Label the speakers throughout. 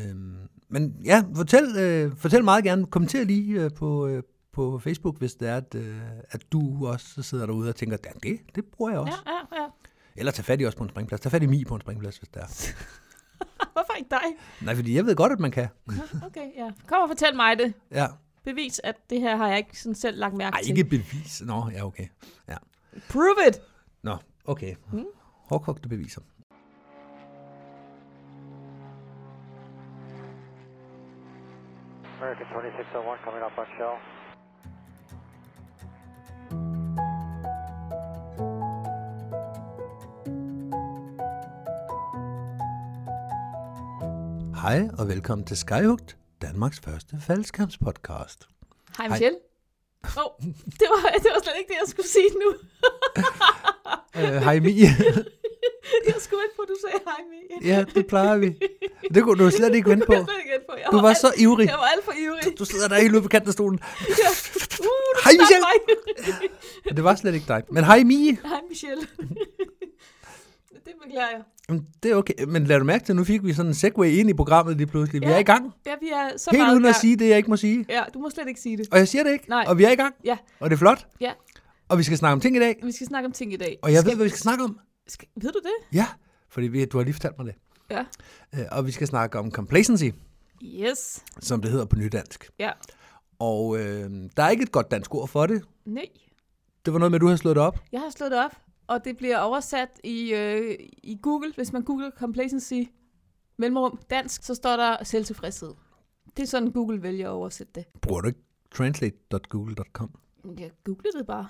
Speaker 1: Øhm, men ja, fortæl, øh, fortæl meget gerne. Kommenter lige øh, på, øh, på Facebook, hvis det er, at, øh, at du også sidder derude og tænker, ja, det, det bruger jeg også. Ja.
Speaker 2: Ja, ja, ja.
Speaker 1: Eller tag fat i os på en springplads. Tag fat i Mi på en springplads, hvis det er.
Speaker 2: Hvorfor ikke dig?
Speaker 1: Nej, fordi jeg ved godt, at man kan.
Speaker 2: Nå, Okay, ja. Kom og fortæl mig det.
Speaker 1: Ja.
Speaker 2: Bevis, at det her har jeg ikke sådan selv lagt mærke
Speaker 1: Ej,
Speaker 2: til.
Speaker 1: ikke bevis. Nå, ja, okay.
Speaker 2: Prove it!
Speaker 1: Nå, okay.
Speaker 2: Mm.
Speaker 1: Hårdkogte beviser.
Speaker 3: American 2601 coming up on shell.
Speaker 1: Hej og velkommen til Skyhugt, Danmarks første faldskampspodcast.
Speaker 2: Hej, Michelle. Åh, oh, det, var, det var slet ikke det, jeg skulle sige nu.
Speaker 1: Øh, Hej Mie.
Speaker 2: Jeg skulle vente på, at du sagde hej, Mie.
Speaker 1: ja, det plejer vi. Det kunne du slet ikke vente
Speaker 2: Det
Speaker 1: på.
Speaker 2: kan jeg slet ikke vente på. Jeg
Speaker 1: Du var
Speaker 2: alt,
Speaker 1: så ivrig.
Speaker 2: Jeg var alt for ivrig.
Speaker 1: Du sidder der helt ude på kanten af stolen.
Speaker 2: Ja. Uh, du
Speaker 1: Hej,
Speaker 2: stopper
Speaker 1: Michelle.
Speaker 2: mig.
Speaker 1: Og det var slet ikke dig. Men hej Mie.
Speaker 2: hej, Michelle. det beklager jeg.
Speaker 1: Jamen, Det er okay. Men lad du mærke til, at nu fik vi sådan en segway ind i programmet lige pludselig. Vi
Speaker 2: Ja.
Speaker 1: er i gang.
Speaker 2: Ja, vi er så
Speaker 1: Helt
Speaker 2: meget
Speaker 1: uden
Speaker 2: i
Speaker 1: at
Speaker 2: gang.
Speaker 1: sige det, jeg ikke må sige.
Speaker 2: Ja, du må slet ikke sige det.
Speaker 1: Og jeg siger det ikke.
Speaker 2: Nej.
Speaker 1: Og vi er i gang.
Speaker 2: Ja.
Speaker 1: Og det er flot.
Speaker 2: Ja.
Speaker 1: Og vi skal snakke om ting i dag.
Speaker 2: Vi skal snakke om ting i dag.
Speaker 1: Og jeg ved, hvad vi skal snakke om.
Speaker 2: Skal, ved du det?
Speaker 1: Ja, fordi vi, du har lige fortalt mig det.
Speaker 2: Ja.
Speaker 1: Øh, Og vi skal snakke om complacency,
Speaker 2: Yes.
Speaker 1: som det hedder på nydansk.
Speaker 2: Ja.
Speaker 1: Og øh, der er ikke et godt dansk ord for det.
Speaker 2: Nej.
Speaker 1: Det var noget med, at du havde slået det op.
Speaker 2: Jeg har slået det op, og det bliver oversat i, øh, i Google. Hvis man googler complacency, mellemrum, dansk, så står der selvtilfredshed. Det er sådan, Google vælger at oversætte det.
Speaker 1: Bruger du ikke translate.google.com?
Speaker 2: Jeg googlede det bare.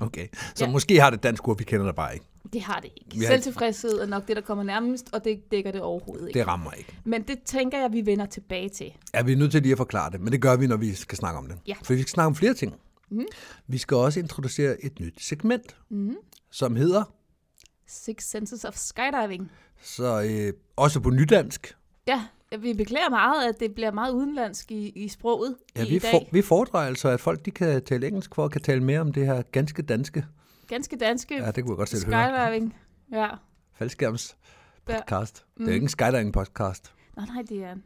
Speaker 1: Okay, så
Speaker 2: Ja.
Speaker 1: ja. måske har det et dansk ord, vi kender det bare ikke.
Speaker 2: Det har det ikke.
Speaker 1: Vi har-
Speaker 2: Selvtilfredshed er nok det, der kommer nærmest, og det dækker det overhovedet ikke.
Speaker 1: Det rammer ikke.
Speaker 2: Men det tænker jeg, vi vender tilbage til.
Speaker 1: Ja, vi er nødt til lige at forklare det, men det gør vi, når vi skal snakke om det.
Speaker 2: Ja.
Speaker 1: For vi skal snakke om flere ting.
Speaker 2: Mhm.
Speaker 1: Vi skal også introducere et nyt segment,
Speaker 2: Mm-hmm.
Speaker 1: som hedder,
Speaker 2: Six Senses of Skydiving.
Speaker 1: så øh, også på nydansk,
Speaker 2: Ja, vi beklager meget, at det bliver meget udenlandsk i, i sproget
Speaker 1: ja,
Speaker 2: i,
Speaker 1: vi,
Speaker 2: i dag.
Speaker 1: vi foredrejer altså, at folk de kan tale engelsk for at kan tale mere om det her ganske danske.
Speaker 2: Øhm, Ganske danske
Speaker 1: Ja, det kunne jeg godt selv høre.
Speaker 2: skydiving. Ja.
Speaker 1: Faldskærms podcast. Ja. Det er
Speaker 2: Mhm.
Speaker 1: jo ikke en skydiving podcast.
Speaker 2: Nå nej, det er en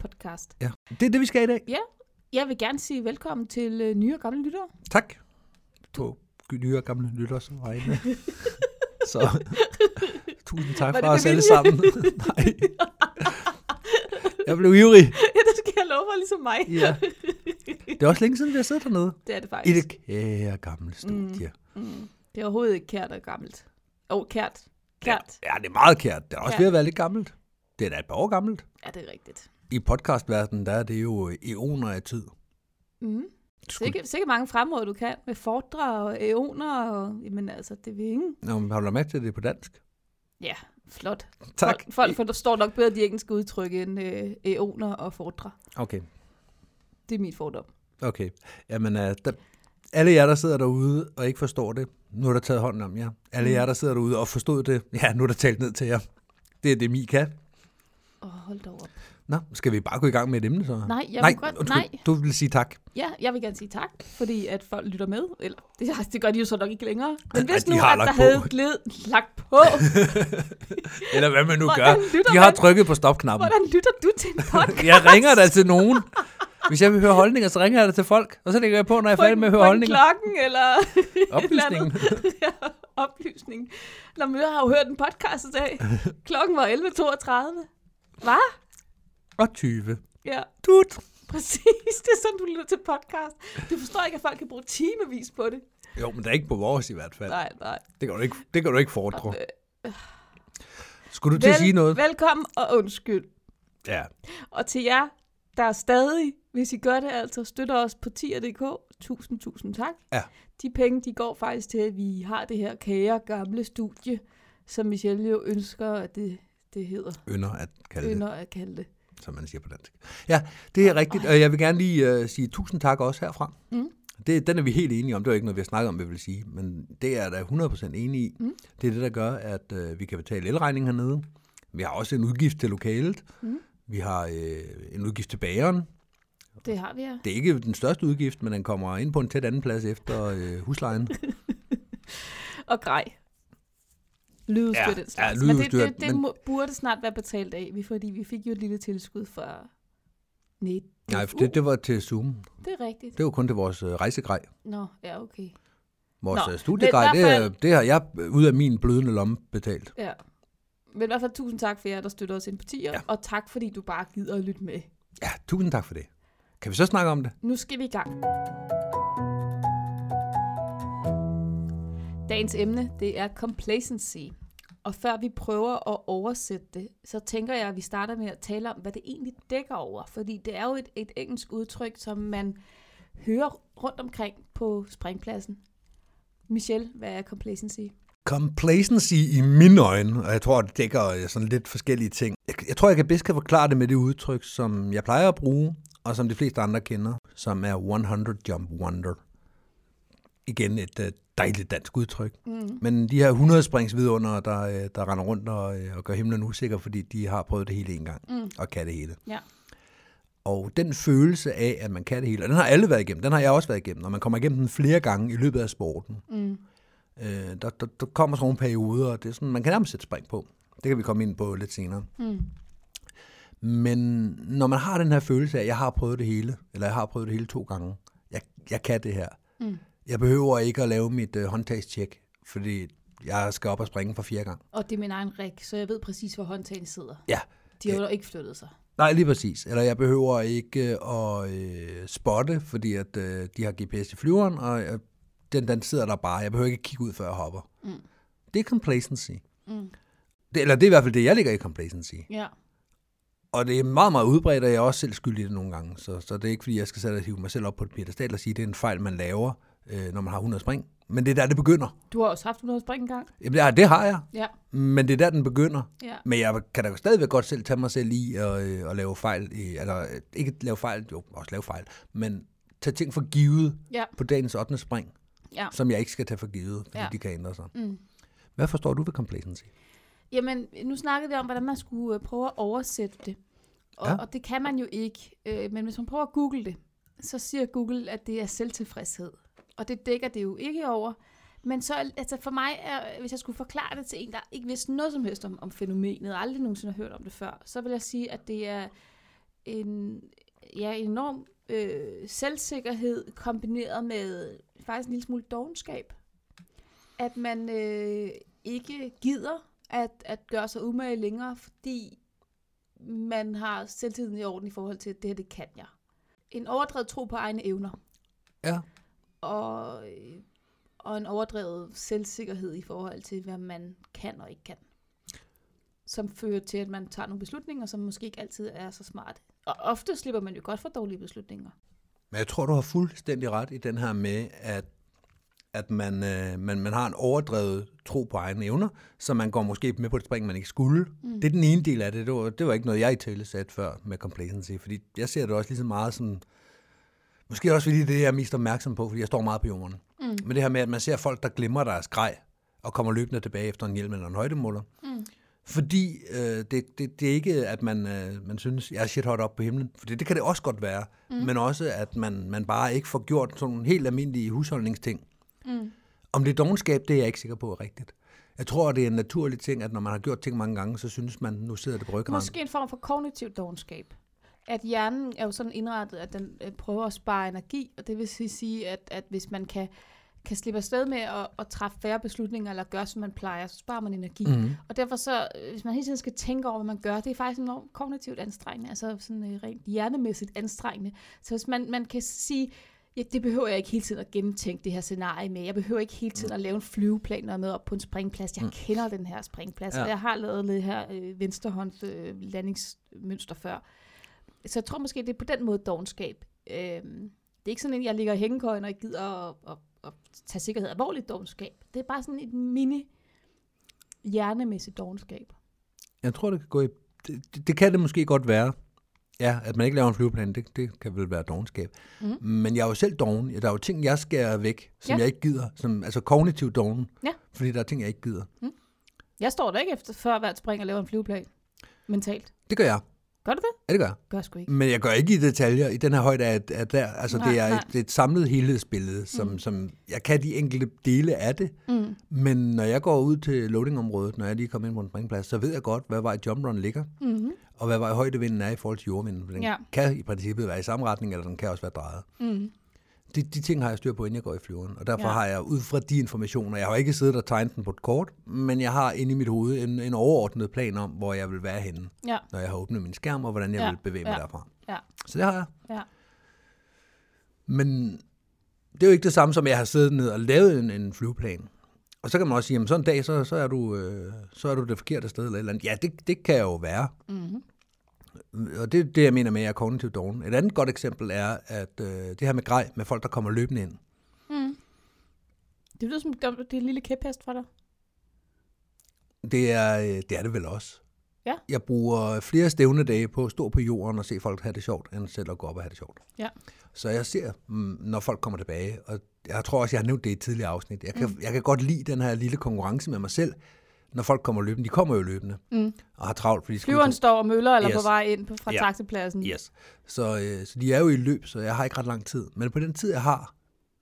Speaker 2: podcast.
Speaker 1: Ja. Det er det, vi skal i dag.
Speaker 2: Jeg vil gerne sige velkommen til øh, nye og gamle lyttere.
Speaker 1: Tak. På nye og gamle lytters vegne. Så tusind tak
Speaker 2: Var det
Speaker 1: for os
Speaker 2: med
Speaker 1: alle
Speaker 2: vilje?
Speaker 1: sammen. Nej. Jeg blev ivrig.
Speaker 2: ja, det skal jeg love for, ligesom mig.
Speaker 1: Ja. Det er også længe siden, vi har siddet hernede.
Speaker 2: Det er det
Speaker 1: I
Speaker 2: faktisk.
Speaker 1: det kære gamle studie. Mm.
Speaker 2: Mm. Det er overhovedet ikke kært og gammelt. Åh, oh, kært. Kært.
Speaker 1: Ja, det er meget kært. Det er også
Speaker 2: Ja.
Speaker 1: ved at være lidt gammelt. Det er da et par år gammelt.
Speaker 2: Ja, det er rigtigt.
Speaker 1: I podcastverdenen, der er det jo eoner af tid.
Speaker 2: Mm.
Speaker 1: Skulle...
Speaker 2: Sikke, sikke mange fremråd, du kan med fordre og æoner. Og, jamen altså, det vil ingen.
Speaker 1: Nå, men har du lagt mærke til at det er på dansk?
Speaker 2: Ja, flot.
Speaker 1: Tak.
Speaker 2: Folk, folk forstår nok bedre de engelske udtryk end øh, æoner og fordre.
Speaker 1: Okay.
Speaker 2: Det er mit fordom.
Speaker 1: Okay. Jamen, uh, der, alle jer, der sidder derude og ikke forstår det, nu er der taget hånden om jer.
Speaker 2: Mm.
Speaker 1: Alle jer, der sidder derude og forstod det, ja, nu er der talt ned til jer. Det er det, Mi kan.
Speaker 2: Åh, oh, hold da op.
Speaker 1: Nå, skal vi bare gå i gang med et emne så?
Speaker 2: Nej, jeg
Speaker 1: Ah. nej,
Speaker 2: vil godt-
Speaker 1: undskyld,
Speaker 2: nej.
Speaker 1: Du vil sige tak.
Speaker 2: Ja, jeg vil gerne sige tak, fordi at folk lytter med. Eller, det, det gør de jo så nok ikke længere. Men
Speaker 1: Nej,
Speaker 2: hvis
Speaker 1: de
Speaker 2: nu,
Speaker 1: har
Speaker 2: at der
Speaker 1: lagt på.
Speaker 2: havde gled, lagt på,
Speaker 1: Eller hvad man nu
Speaker 2: Hvordan
Speaker 1: gør.
Speaker 2: lytter
Speaker 1: De har
Speaker 2: man?
Speaker 1: trykket på stopknappen.
Speaker 2: hvordan lytter du til en podcast?
Speaker 1: Jeg ringer da til nogen. Hvis jeg vil høre holdninger, så ringer jeg da til folk. Og så lægger jeg på, når jeg er
Speaker 2: På
Speaker 1: færdig
Speaker 2: en-
Speaker 1: med at
Speaker 2: på
Speaker 1: høre
Speaker 2: en
Speaker 1: holdninger.
Speaker 2: klokken, eller
Speaker 1: Oplysningen.
Speaker 2: ja, oplysning. Nå, men jeg har jo hørt en podcast i dag. Klokken var 11.32. Hvad?
Speaker 1: Og 20.
Speaker 2: Ja,
Speaker 1: Tut.
Speaker 2: præcis. Det er sådan, du lytter til podcast. Du forstår ikke, at folk kan bruge timevis på det.
Speaker 1: Jo, men det er ikke på vores i hvert fald.
Speaker 2: Nej, nej.
Speaker 1: Det kan du ikke, det kan du ikke foredre.
Speaker 2: Øh,
Speaker 1: Skulle du til at sige noget?
Speaker 2: Velkommen og undskyld.
Speaker 1: Ja.
Speaker 2: Og til jer, der er stadig, hvis I gør det, altså støtter os på tier.dk. Tusind, tusind tak.
Speaker 1: Ja.
Speaker 2: De penge, de går faktisk til, at vi har det her kære gamle studie, som Michelle jo ønsker, at det, det hedder.
Speaker 1: Ynder at kalde det.
Speaker 2: Ønsker at kalde det.
Speaker 1: som man siger på dansk. Ja, det er rigtigt, og jeg vil gerne lige øh, sige tusind tak også herfra.
Speaker 2: Mm.
Speaker 1: Det, den er vi helt enige om. Det var ikke noget, vi har snakket om, vi vil sige, men det er jeg da 100% enige i.
Speaker 2: Mm.
Speaker 1: Det er det, der gør, at øh, vi kan betale elregningen hernede. Vi har også en udgift til lokalet.
Speaker 2: Mm.
Speaker 1: Vi har øh, en udgift til bageren.
Speaker 2: Det har vi her.
Speaker 1: Det er ikke den største udgift, men den kommer ind på en tæt anden plads efter øh, huslejen.
Speaker 2: Og grej. lydudstyr
Speaker 1: Ja,
Speaker 2: ja, den slags.
Speaker 1: ja,
Speaker 2: men det,
Speaker 1: lydudstyr,
Speaker 2: det, det
Speaker 1: men-
Speaker 2: men... burde snart være betalt af, vi- fordi vi fik jo et lille tilskud fra... E Nej,
Speaker 1: Nej, for det, det var til Zoom.
Speaker 2: det er rigtigt.
Speaker 1: Det var kun til vores øh, rejsegrej.
Speaker 2: Nå, ja, okay.
Speaker 1: Vores
Speaker 2: Nå,
Speaker 1: Nå, studiegrej,
Speaker 2: men i
Speaker 1: det,
Speaker 2: hvert
Speaker 1: er- det har jeg øh, ud af min blødende lomme betalt.
Speaker 2: Ja. Men i hvert fald tusind tak for jer, der støtter os ind på 10'er, ja.
Speaker 1: Ja.
Speaker 2: og tak fordi du bare gider at lytte med.
Speaker 1: Ja, tusind tak for det. Kan vi så snakke om det?
Speaker 2: Nu skal vi i gang. Dagens emne, det er complacency. Og før vi prøver at oversætte det, så tænker jeg, at vi starter med at tale om, hvad det egentlig dækker over. Fordi det er jo et, et engelsk udtryk, som man hører rundt omkring på springpladsen. Michelle, hvad er complacency?
Speaker 1: Complacency i mine øjne, og jeg tror, det dækker øh, sådan lidt forskellige ting. Jeg, jeg tror, jeg kan bedst kan forklare det med det udtryk, som jeg plejer at bruge, og som de fleste andre kender, som er 100 jump wonder. Igen et øh, dejligt dansk udtryk.
Speaker 2: Mm.
Speaker 1: Men de her 100 springsvidunder, der, øh, der render rundt og, øh, og gør himlen usikker, fordi de har prøvet det hele en gang,
Speaker 2: Mm.
Speaker 1: og kan det hele.
Speaker 2: Ja.
Speaker 1: Og den følelse af, at man kan det hele, og den har alle været igennem, den har jeg også været igennem, og man kommer igennem den flere gange i løbet af sporten.
Speaker 2: Mm.
Speaker 1: Øh, der, der, der kommer sådan nogle perioder, og det er sådan, man kan nærmest sætte spring på. Det kan vi komme ind på lidt senere.
Speaker 2: Mm.
Speaker 1: Men når man har den her følelse af, at jeg har prøvet det hele, eller jeg har prøvet det hele to gange, jeg, jeg kan det her.
Speaker 2: Mm.
Speaker 1: Jeg behøver ikke at lave mit øh, håndtagstjek, fordi jeg skal op og springe for fire gange.
Speaker 2: Og det er min egen rig, så jeg ved præcis, hvor håndtagene sidder.
Speaker 1: Ja,
Speaker 2: De har jo ikke flyttet sig.
Speaker 1: nej lige præcis. Eller jeg behøver ikke øh, at øh, spotte, fordi at, øh, de har GPS i flyveren, og øh, den, den sidder der bare. Jeg behøver ikke kigge ud, før jeg hopper.
Speaker 2: Mm.
Speaker 1: Det er complacency.
Speaker 2: Mm.
Speaker 1: Det, eller det er i hvert fald det, jeg ligger i complacency.
Speaker 2: Ja.
Speaker 1: Og det er meget, meget udbredt, og jeg er også selv skyldig i det nogle gange. Så, så det er ikke, fordi jeg skal sætte og hive mig selv op på et pedestal og sige, at det er en fejl, man laver, øh, når man har 100 spring. Men det er der, det begynder.
Speaker 2: Du har også haft 100 spring engang.
Speaker 1: Jamen, det har- det har jeg,
Speaker 2: Ja,
Speaker 1: men det er der, den begynder.
Speaker 2: ja.
Speaker 1: Men jeg kan da stadigvæk godt selv tage mig selv i og, øh, og lave fejl. i- Eller øh, ikke lave fejl, jo, også lave fejl. Men tage ting for givet
Speaker 2: Ja.
Speaker 1: på dagens 8. spring,
Speaker 2: Ja.
Speaker 1: som jeg ikke skal tage for givet, fordi
Speaker 2: Ja.
Speaker 1: de kan ændre sig.
Speaker 2: Mm.
Speaker 1: Hvad forstår du ved complacency?
Speaker 2: Jamen, nu snakkede vi om, hvordan man skulle øh, prøve at oversætte det. Og, ja.
Speaker 1: Ja.
Speaker 2: og det kan man jo ikke. Øh, men hvis man prøver at google det, så siger Google, at det er selvtilfredshed. Og det dækker det jo ikke over. Men så, altså for mig, er, hvis jeg skulle forklare det til en, der ikke vidste noget som helst om, om fænomenet, og aldrig nogensinde har hørt om det før, så vil jeg sige, at det er en ja, enorm øh, selvsikkerhed kombineret med faktisk en lille smule dogenskab. At man øh, ikke gider at, at gøre sig umage længere, fordi man har selvtiden i orden i forhold til, at det her, det kan jeg. En overdrevet tro på egne evner.
Speaker 1: Ja.
Speaker 2: Og, øh, og en overdrevet selvsikkerhed i forhold til, hvad man kan og ikke kan. Som fører til, at man tager nogle beslutninger, som måske ikke altid er så smarte. Og ofte slipper man jo godt for dårlige beslutninger.
Speaker 1: Men jeg tror, du har fuldstændig ret i den her med, at, at man, øh, man, man har en overdrevet tro på egne evner, så man går måske med på et spring, man ikke skulle. Mm. Det er den ene del af det. Det var, det var ikke noget, jeg i tale sat før med complacency, fordi jeg ser det også lige så meget som... Måske også fordi det er det, jeg er mest opmærksom på, fordi jeg står meget på jorden. Mm. Men det her med, at man ser folk, der glemmer deres grej, og kommer løbende tilbage efter en hjelm eller en højdemåler. Mm. Fordi øh, det, det, det er ikke, at man, øh, man synes, jeg er shit hot op på himlen. For det, det kan det også godt være. Mm. Men også, at man, man bare ikke får gjort sådan nogle helt almindelige husholdningsting.
Speaker 2: Mm.
Speaker 1: Om det er dogenskab, det er jeg ikke sikker på er rigtigt. Jeg tror, det er en naturlig ting, at når man har gjort ting mange gange, så synes man, nu sidder det på ryggen.
Speaker 2: Måske en form for kognitiv dogenskab. At hjernen er jo sådan indrettet, at den øh, prøver at spare energi, og det vil si- sige, at, at hvis man kan, kan slippe afsted med at, at træffe færre beslutninger, eller gøre, som man plejer, så sparer man energi. Mm.
Speaker 1: Mm.
Speaker 2: Og derfor så, øh, hvis man hele tiden skal tænke over, hvad man gør, det er faktisk enormt kognitivt anstrengende, altså sådan øh, rent hjernemæssigt anstrengende. Så hvis man, man kan sige, ja, det behøver jeg ikke hele tiden at gennemtænke det her scenarie med. Jeg behøver ikke hele tiden at lave en flyveplan, når jeg er med op på en springplads. Jeg kender den her springplads, ja.
Speaker 1: Ja.
Speaker 2: og jeg har lavet det her øh, venstrehånds øh, landingsmønster før. Så jeg tror måske, det er på den måde dogenskab. Øhm, det er ikke sådan, at jeg ligger i hængekøjen og ikke gider at, at, at tage sikkerhed alvorligt dogenskab. Det er bare sådan et mini hjernemæssigt dogenskab.
Speaker 1: Jeg tror, det kan gå i... Det, det- det kan det måske godt være. Ja, at man ikke laver en flyveplan, det, det kan vel være dogenskab.
Speaker 2: Mhm.
Speaker 1: Mm. Men jeg er jo selv doven. Ja, Der er jo ting, jeg skærer væk, som
Speaker 2: Ja.
Speaker 1: ja. jeg ikke gider. Som, altså kognitiv doven.
Speaker 2: Ja.
Speaker 1: Fordi der er ting, jeg ikke gider.
Speaker 2: Jeg står der ikke efter før hvert spring og laver en flyveplan. Mentalt.
Speaker 1: Det gør jeg.
Speaker 2: Gør du det?
Speaker 1: Ja, det gør jeg.
Speaker 2: Gør jeg sgu ikke.
Speaker 1: Men jeg går ikke i detaljer. I den her højde er, er der, altså
Speaker 2: Nej,
Speaker 1: det, er
Speaker 2: nej.
Speaker 1: et, det er et samlet helhedsbillede, som, mm. som jeg kan de enkelte dele af det.
Speaker 2: Mm.
Speaker 1: Men når jeg går ud til loadingområdet, når jeg lige kommer ind på en springplads, så ved jeg godt, hvad vej jumprun ligger,
Speaker 2: Mm-hmm.
Speaker 1: og hvad vej højdevinden er i forhold til jordvinden. For den
Speaker 2: Ja.
Speaker 1: ja. kan i princippet være i samme retning, eller den kan også være drejet.
Speaker 2: Mm.
Speaker 1: De, de ting har jeg styr på, inden jeg går i flyveren. Og derfor
Speaker 2: Ja.
Speaker 1: ja. har jeg ud fra de informationer, jeg har ikke siddet og tegnet den på et kort, men jeg har inde i mit hoved en, en overordnet plan om, hvor jeg vil være henne,
Speaker 2: Ja,
Speaker 1: når jeg har åbnet min skærm, og hvordan jeg
Speaker 2: Ja,
Speaker 1: ja. vil bevæge mig
Speaker 2: ja.
Speaker 1: ja. derfra.
Speaker 2: ja,
Speaker 1: Så det har jeg.
Speaker 2: ja.
Speaker 1: Men det er jo ikke det samme som, at jeg har siddet ned og lavet en, en flyveplan. Og så kan man også sige, jamen sådan en dag, så, så, er, du, øh, så er du det forkerte sted eller et eller andet. Ja, det, det kan jeg jo være.
Speaker 2: Mm-hmm.
Speaker 1: Og det er det, jeg mener med, at jeg er kognitiv doven. Et andet godt eksempel er, at øh, det her med grej, med folk, der kommer løbende ind.
Speaker 2: Mm. Det lyder som, det er en lille kæphest for dig.
Speaker 1: Det er, øh, det er det vel også.
Speaker 2: Ja.
Speaker 1: Jeg bruger flere stævnedage på at stå på jorden og se folk have det sjovt, end selv at gå op og have det sjovt.
Speaker 2: Ja.
Speaker 1: Så jeg ser, mm, når folk kommer tilbage, og jeg tror også, jeg har nævnt det i et tidligere afsnit, jeg kan, mm. jeg kan godt lide den her lille konkurrence med mig selv, når folk kommer løbende. De kommer jo løbende
Speaker 2: Mm.
Speaker 1: og har travlt, fordi de skal ud
Speaker 2: Flyveren
Speaker 1: til-
Speaker 2: står og møller eller yes.
Speaker 1: Yes.
Speaker 2: på vej ind på, fra
Speaker 1: Ja.
Speaker 2: yeah. taxipladsen.
Speaker 1: Yes. Så, øh, så de er jo i løb, så jeg har ikke ret lang tid. Men på den tid, jeg har,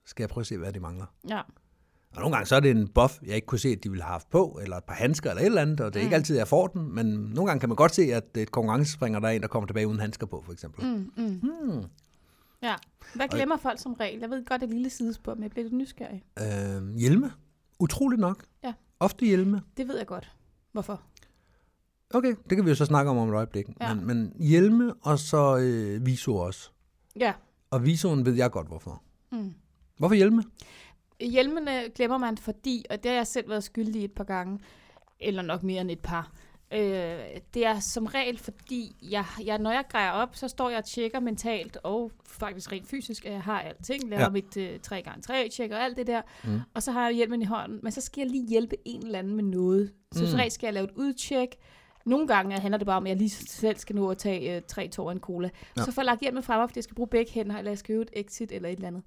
Speaker 1: skal jeg prøve at se, hvad de mangler.
Speaker 2: Ja.
Speaker 1: Og nogle gange så er det en buff, jeg ikke kunne se, at de ville have haft på, eller et par handsker eller et eller andet, og det er mm. ikke altid, jeg får den, men nogle gange kan man godt se, at et konkurrencespringer, der er en, der kommer tilbage uden handsker på, for eksempel. Mm.
Speaker 2: Mm, mm.
Speaker 1: Hmm.
Speaker 2: ja. Hvad glemmer folk som regel? Jeg ved godt, det er et lille sidespor, men jeg bliver lidt nysgerrig.
Speaker 1: Øh, hjelme. Utroligt nok.
Speaker 2: Mm. Ja.
Speaker 1: Ofte hjelme.
Speaker 2: Det ved jeg godt. Hvorfor?
Speaker 1: Okay, det kan vi jo så snakke om om et øjeblik.
Speaker 2: Ja.
Speaker 1: Men, men hjelme og så øh, viso også.
Speaker 2: Ja.
Speaker 1: Og visoen ved jeg godt, hvorfor.
Speaker 2: Mm.
Speaker 1: Hvorfor hjelme?
Speaker 2: Hjelmene glemmer man, fordi, og det har jeg selv været skyldig i et par gange, eller nok mere end et par, øh, det er som regel, fordi jeg, jeg, når jeg grejer op, så står jeg og tjekker mentalt, og faktisk rent fysisk, at jeg har alting, laver ja.
Speaker 1: Ja.
Speaker 2: mit øh, 3x3, tjekker alt det der, mm. og så har jeg hjelmen i hånden, men så skal jeg lige hjælpe en eller anden med noget. Så mm. som regel skal jeg lave et udtjek, nogle gange handler det bare om, at jeg lige selv skal nå at tage øh, tre tårer og en cola. Ja.
Speaker 1: Ja.
Speaker 2: Så får jeg lagt hjelmen frem, fordi jeg skal bruge begge hænder, eller jeg skal øve et exit eller et eller andet.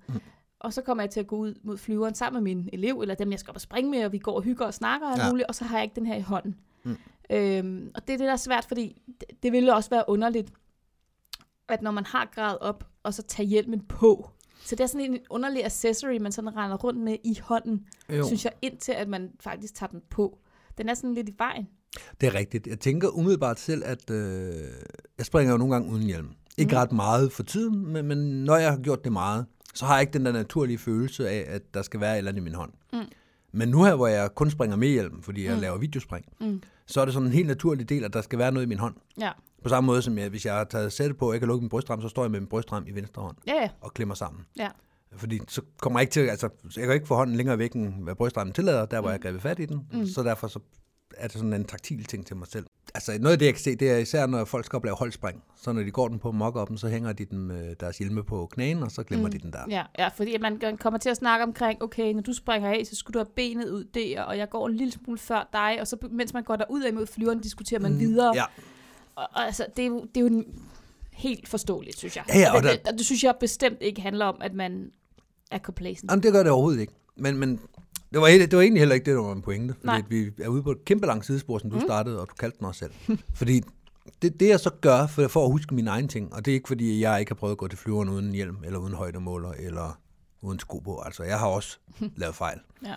Speaker 2: Og så kommer jeg til at gå ud mod flyveren sammen med min elev, eller dem, jeg skal op og springe med, og vi går og hygger og snakker og ja.
Speaker 1: Ja.
Speaker 2: muligt, og så har jeg ikke den her i hånden. Mm. Øhm, og det er det, der er svært, fordi det, det ville også være underligt, at når man har grad op, og så tager hjelmen på. Så det er sådan en underlig accessory, man sådan render rundt med i hånden, jo. synes jeg, indtil at man faktisk tager den på. Den er sådan lidt i vejen.
Speaker 1: Det er rigtigt. Jeg tænker umiddelbart selv, at øh, jeg springer jo nogle gange uden hjelm. Ikke mm. ret meget for tiden, men, men når jeg har gjort det meget, så har jeg ikke den der naturlige følelse af, at der skal være et eller andet i min hånd. Mm. Men nu her, hvor jeg kun springer med hjelm, fordi jeg mm. laver videospring, mm. så er det sådan en helt naturlig del, at der skal være noget i min hånd.
Speaker 2: Ja,
Speaker 1: På samme måde som jeg, hvis jeg har taget sætte på, og ikke har lukket min brystram, så står jeg med min brystram i venstre hånd
Speaker 2: ja, ja.
Speaker 1: og klemmer sammen.
Speaker 2: ja.
Speaker 1: Fordi så kommer jeg ikke til, altså jeg kan ikke få hånden længere væk, end hvad brystrammen tillader, der hvor jeg grebet fat i den. Mm. Så derfor så er det sådan en taktil ting til mig selv. Altså noget af det, jeg kan se, det er især, når folk skal op og lave holdspring. Så når de går den på mock så hænger de den, øh, deres hjelme på knæen, og så glemmer mm. de den der.
Speaker 2: Ja, ja fordi at man kommer til at snakke omkring, okay, når du springer af, så skulle du have benet ud der, og jeg går en lille smule før dig, og så be- mens man går derud af mod flyveren, diskuterer man mm, videre.
Speaker 1: Ja,
Speaker 2: Og, og altså, det er, jo, det er jo en- helt forståeligt, synes jeg.
Speaker 1: Ja, ja, og
Speaker 2: og, det,
Speaker 1: der-
Speaker 2: og det synes jeg bestemt ikke handler om, at man er complacent.
Speaker 1: Jamen, det gør det overhovedet ikke. Men, men det, var, he- det var egentlig heller ikke det, der var en pointe. Fordi
Speaker 2: Nej.
Speaker 1: at vi er ude på et kæmpe langt sidespor, som du mm. startede, og du kaldte den også selv. fordi det, det, jeg så gør for, for at huske mine egne ting, og det er ikke, fordi jeg ikke har prøvet at gå til flyveren uden hjelm, eller uden højdemåler, eller uden sko på. Altså, jeg har også lavet fejl.
Speaker 2: Ja.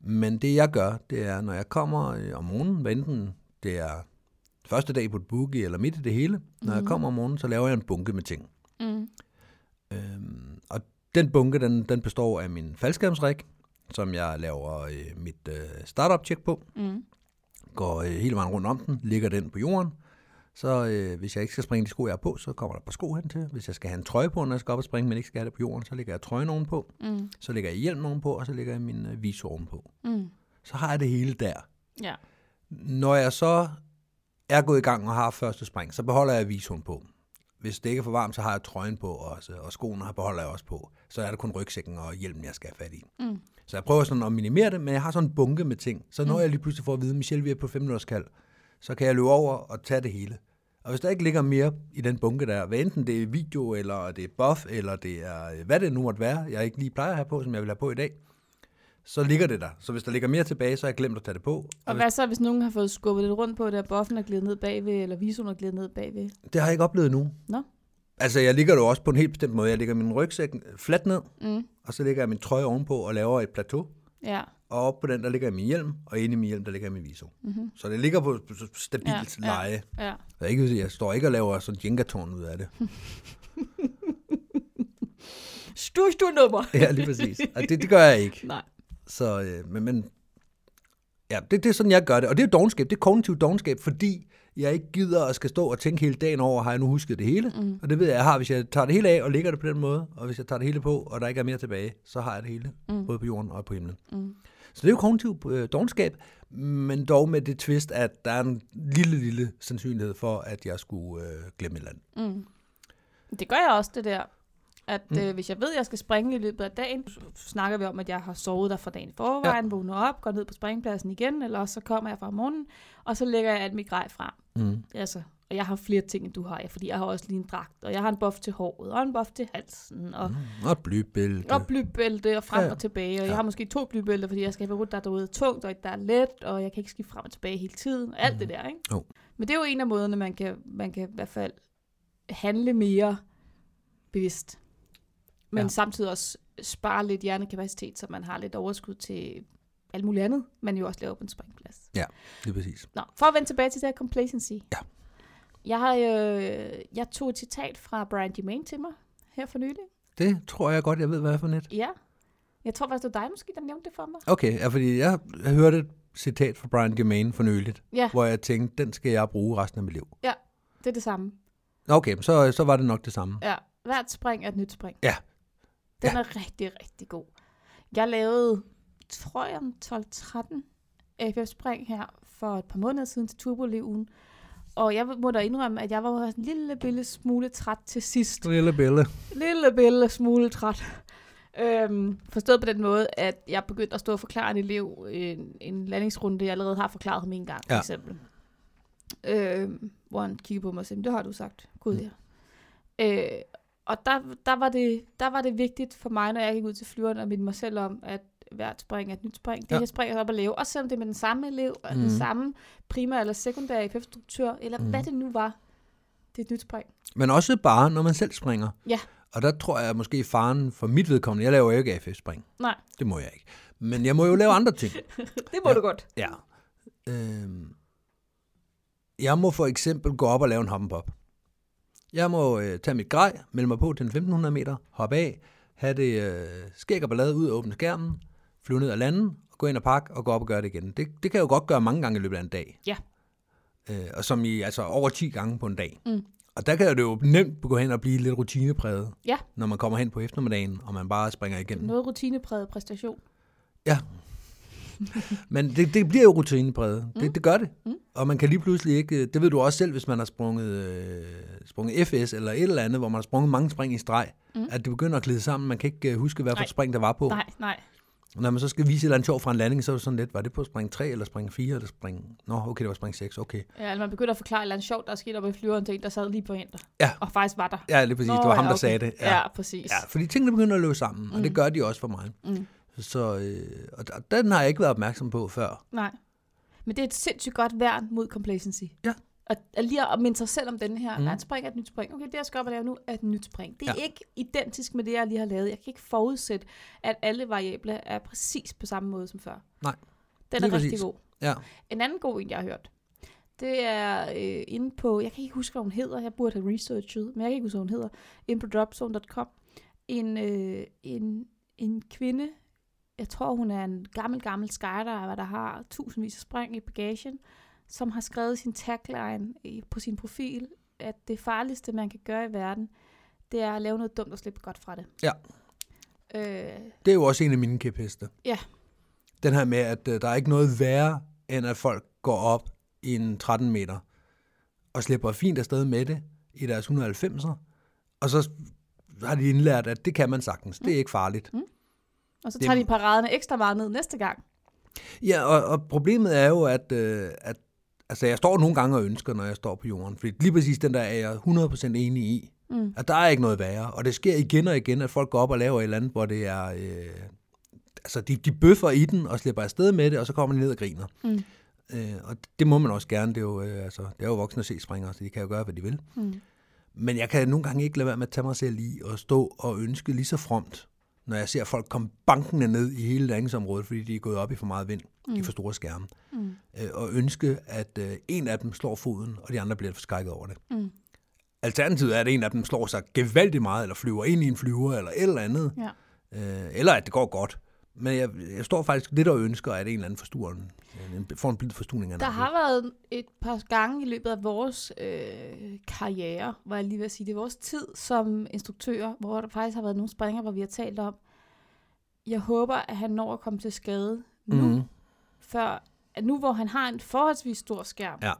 Speaker 1: Men det, jeg gør, det er, når jeg kommer øh, om morgenen, hvad enten det er første dag på et boogie, eller midt i det hele, når mm. jeg kommer om morgenen, så laver jeg en bunke med ting.
Speaker 2: Mm.
Speaker 1: Øhm, og den bunke, den, den består af min faldskærmsrik, som jeg laver øh, mit øh, startup-tjek på.
Speaker 2: Mm.
Speaker 1: Går øh, hele vejen rundt om den, ligger den på jorden. Så øh, hvis jeg ikke skal springe de sko, jeg har på, så kommer der et par sko hen til. Hvis jeg skal have en trøje på, når jeg skal op og springe, men ikke skal have det på jorden, så lægger jeg trøjen ovenpå.
Speaker 2: Mm.
Speaker 1: Så lægger jeg hjelmen ovenpå, og så lægger jeg min øh, visor ovenpå.
Speaker 2: Mm.
Speaker 1: Så har jeg det hele der.
Speaker 2: Ja.
Speaker 1: Når jeg så er gået i gang og har første spring, så beholder jeg visoren på. Hvis det ikke er for varmt, så har jeg trøjen på også, og skoene har beholder jeg også på. Så er det kun rygsækken og hjelmen, jeg skal have fat i.
Speaker 2: Mm.
Speaker 1: Så jeg prøver sådan at minimere det, men jeg har sådan en bunke med ting. Så når jeg lige pludselig får at vide, at Michelle, vi er på 5 minutters kald, så kan jeg løbe over og tage det hele. Og hvis der ikke ligger mere i den bunke der, hvad enten det er video, eller det er buff, eller det er øh, hvad det nu måtte være, jeg ikke lige plejer at have på, som jeg vil have på i dag, så ligger det der. Så hvis der ligger mere tilbage, så har jeg glemt at tage det på.
Speaker 2: Og
Speaker 1: Og
Speaker 2: hvad så, hvis nogen har fået skubbet lidt rundt på det, og boffen er glædet ned bagved, eller visoen er glædet ned bagved?
Speaker 1: Det har jeg ikke oplevet nu.
Speaker 2: Nå.
Speaker 1: Altså, jeg ligger det jo også på en helt bestemt måde. Jeg ligger min rygsæk fladt ned,
Speaker 2: Mm.
Speaker 1: og så lægger jeg min trøje ovenpå og laver et plateau.
Speaker 2: Ja.
Speaker 1: Og oppe på den, der ligger jeg min hjelm, og inde i min hjelm, der ligger jeg min viso. Mm-hmm. Så det ligger på s- s- stabilt
Speaker 2: Ja,
Speaker 1: ja,
Speaker 2: ja.
Speaker 1: leje.
Speaker 2: ja.
Speaker 1: Jeg, ikke, jeg står ikke og laver sådan jengatårn ud af det.
Speaker 2: Stu, stu nummer.
Speaker 1: Ja, lige præcis. Og det, det gør jeg ikke.
Speaker 2: Nej.
Speaker 1: Så, øh, men, men ja, det, det er sådan, jeg gør det. Og det er jo dogenskab. Det er kognitiv dogenskab, fordi jeg ikke gider at skal stå og tænke hele dagen over, har jeg nu husket det hele? Mm. Og det ved jeg, jeg har. Hvis jeg tager det hele af og lægger det på den måde, og hvis jeg tager det hele på, og der ikke er mere tilbage, så har jeg det hele, mm. både på jorden og på himlen. Mm. Så det er jo kognitiv øh, dogenskab, men dog med det twist, at der er en lille, lille sandsynlighed for, at jeg skulle øh, glemme et eller andet.
Speaker 2: Det gør jeg også, det der. At mm. øh, hvis jeg ved, at jeg skal springe i løbet af dagen, så snakker vi om, at jeg har sovet der fra dagen i forvejen, ja. vågner op, går ned på springpladsen igen, eller også så kommer jeg fra om morgenen, og så lægger jeg alt mit grej frem.
Speaker 1: Mm.
Speaker 2: Altså, og jeg har flere ting, end du har, ja, fordi jeg har også lige en dragt, og jeg har en buff til håret, og en buff til halsen, og, mm.
Speaker 1: Og et blybælte.
Speaker 2: og blybælte, og frem
Speaker 1: Ja,
Speaker 2: ja,
Speaker 1: ja.
Speaker 2: og tilbage, og
Speaker 1: Ja.
Speaker 2: jeg har måske to blybælter, fordi jeg skal have rundt, der er derude tungt, og et, der er let, og jeg kan ikke skifte frem og tilbage hele tiden, og alt mm. det der, ikke?
Speaker 1: Mhm. Jo.
Speaker 2: Men det er jo en af måderne, man kan, man kan i hvert fald handle mere bevidst, men
Speaker 1: Ja.
Speaker 2: ja. samtidig også spare lidt hjernekapacitet, så man har lidt overskud til alt muligt andet, man jo også laver på en springplads.
Speaker 1: Lige præcis.
Speaker 2: Nå, for at vende tilbage til det her complacency.
Speaker 1: Ja.
Speaker 2: Jeg, har, øh, jeg tog et citat fra Brian Germain til mig her for nylig.
Speaker 1: Det tror jeg godt, jeg ved, hvad jeg er for net.
Speaker 2: Ja. Jeg tror faktisk, det var dig måske, der nævnte det for mig.
Speaker 1: Okay, ja, fordi jeg, jeg hørte et citat fra Brian Germain for nyligt,
Speaker 2: Ja,
Speaker 1: hvor jeg tænkte, den skal jeg bruge resten af mit liv.
Speaker 2: det er det samme.
Speaker 1: Nå, Okay, så, så var det nok det samme.
Speaker 2: Ja, hvert spring er et nyt spring.
Speaker 1: Ja.
Speaker 2: Den
Speaker 1: Ja.
Speaker 2: ja. er rigtig, rigtig god. Jeg lavede, tror jeg, en 12-13 AFF-spring her for et par måneder siden til Turboliv Og jeg må da indrømme, at jeg var en lille, lille smule træt til sidst.
Speaker 1: Lille Bille.
Speaker 2: lille bille smule træt. Øhm, forstået på den måde, at jeg begyndte at stå og forklare en elev en, en landingsrunde, jeg allerede har forklaret ham en gang, for
Speaker 1: Ja.
Speaker 2: eksempel. Øhm, hvor han kiggede på mig og sagde, det har du sagt.
Speaker 1: Mm.
Speaker 2: Gud, ja. Øh, og der, der, var det, der var det vigtigt for mig, når jeg gik ud til flyveren og minde mig selv om, at hvert spring er et nyt spring. Det
Speaker 1: Ja.
Speaker 2: ja. jeg springer op og lave, også selvom det er med den samme elev, og mm. den
Speaker 1: Mhm.
Speaker 2: samme primær eller sekundær IPF-struktør, eller mm. hvad det nu var, det er et nyt spring.
Speaker 1: Men også bare, når man selv springer.
Speaker 2: Ja.
Speaker 1: Og der tror jeg måske faren for mit vedkommende, jeg laver jo ikke AFF-spring.
Speaker 2: Nej,
Speaker 1: Det må jeg ikke. Men jeg må jo lave andre ting.
Speaker 2: det må
Speaker 1: Ja.
Speaker 2: ja. du godt.
Speaker 1: Ja. Øhm, jeg må for eksempel gå op og lave en hoppepop. Jeg må øh, tage mit grej, melde mig på til en 1500 meter, hoppe af, have det øh, skæg og ballade ud og åbne skærmen, flyve ned og lande, gå ind og pakke og gå op og gøre det igen. Det, det kan jeg jo godt gøre mange gange i løbet af en dag.
Speaker 2: Ja.
Speaker 1: Øh, og som i altså over 10 gange på en dag.
Speaker 2: Mm.
Speaker 1: Og der kan det jo nemt gå hen og blive lidt rutinepræget,
Speaker 2: Ja.
Speaker 1: når man kommer hen på eftermiddagen, og man bare springer igennem.
Speaker 2: Noget rutinepræget præstation.
Speaker 1: Ja. Men det, det bliver jo rutinepræget. Det, mm. det gør det. Mm. Og man kan lige pludselig ikke... øh, Det ved du også selv, hvis man har sprunget, øh, sprunget FS eller et eller andet, hvor man har sprunget mange spring i streg, mm. at det begynder at glide sammen. Man kan ikke øh, huske, hvad for
Speaker 2: Nej.
Speaker 1: et spring der var på.
Speaker 2: Nej, nej.
Speaker 1: Når man så skal vise et eller andet sjov fra en landing, så er det sådan lidt, var det på spring 3 eller spring 4 eller spring... Nå, okay, det var spring 6, okay.
Speaker 2: Ja, eller man begynder at forklare et eller andet sjovt, der er sket op i flyveren til en, der sad lige på en der.
Speaker 1: Ja.
Speaker 2: Og faktisk var der.
Speaker 1: Ja, lige præcis. Nå, det var ham, der
Speaker 2: okay.
Speaker 1: sagde det.
Speaker 2: Ja, ja præcis.
Speaker 1: Ja, fordi tingene begynder at løbe sammen, mm. og det gør de også for mig.
Speaker 2: Mm.
Speaker 1: Så, øh, og der- den har jeg ikke været opmærksom på før.
Speaker 2: Nej. Men det er et sindssygt godt værn mod complacency.
Speaker 1: Ja.
Speaker 2: Og at lige at minde sig selv om den her,
Speaker 1: Mm.
Speaker 2: mm. nej, spring er et nyt spring. Okay, det jeg skal op og lave nu er et nyt spring. Det er
Speaker 1: Ja.
Speaker 2: ja. ikke identisk med det, jeg lige har lavet. Jeg kan ikke forudsætte, at alle variable er præcis på samme måde som før.
Speaker 1: Nej.
Speaker 2: Den
Speaker 1: Lige
Speaker 2: er rigtig
Speaker 1: præcis.
Speaker 2: god.
Speaker 1: Ja.
Speaker 2: En anden god en, jeg har hørt, det er øh, inde på, jeg kan ikke huske, hvad hun hedder, jeg burde have researchet, men jeg kan ikke huske, hvad hun hedder, inde på dropzone.com, en, øh, en, en kvinde, jeg tror, hun er en gammel, gammel skydiver, der har tusindvis af spring i bagagen, som har skrevet sin tagline i- på sin profil, at det farligste, man kan gøre i verden, det er at lave noget dumt og slippe godt fra det.
Speaker 1: Ja.
Speaker 2: Øh,
Speaker 1: Det er jo også en af mine kæpheste.
Speaker 2: Ja.
Speaker 1: Den her med, at øh, der er ikke noget værre, end at folk går op i en 13 meter og slipper fint afsted med det i deres 190'er, og så har de indlært, at det kan man sagtens. Det er ikke farligt.
Speaker 2: og så
Speaker 1: Det er-
Speaker 2: tager de paraderne ekstra meget ned næste gang.
Speaker 1: Ja, og, og problemet er jo, at, øh, at altså, jeg står nogle gange og ønsker, når jeg står på jorden, fordi lige præcis den der er jeg 100% enig i,
Speaker 2: Mm.
Speaker 1: at der er ikke noget værre, og det sker igen og igen, at folk går op og laver et eller andet, hvor det er, øh, altså, de, de bøffer i den og slipper afsted med det, og så kommer de ned og griner.
Speaker 2: Mm.
Speaker 1: Øh, og det må man også gerne. Det er jo, øh, altså, det er jo voksne se springer, så de kan jo gøre, hvad de vil.
Speaker 2: Mm.
Speaker 1: Men jeg kan nogle gange ikke lade være med at tage mig selv i og stå og ønske lige så fromt, når jeg ser folk komme bankende ned i hele landingsområdet, fordi de er gået op i for meget vind mm. i for store skærme.
Speaker 2: Mm.
Speaker 1: Øh, og ønske, at øh, en af dem slår foden, og de andre bliver forskrækket over det.
Speaker 2: Mm.
Speaker 1: Alternativet er, at en af dem slår sig gevaldigt meget, eller flyver ind i en flyver, eller et eller andet.
Speaker 2: Ja.
Speaker 1: Øh, eller at det går godt. Men jeg, jeg står faktisk lidt og ønsker, at en eller anden forstuer en, en, får en blid forstuning af
Speaker 2: Der
Speaker 1: nakken.
Speaker 2: har været et par gange i løbet af vores øh, karriere, var jeg lige ved at sige, det er vores tid som instruktører, hvor der faktisk har været nogle springer, hvor vi har talt om, jeg håber, at han når at komme til skade nu, mm.
Speaker 1: Mhm.
Speaker 2: før, at nu hvor han har en forholdsvis stor skærm.
Speaker 1: Ja.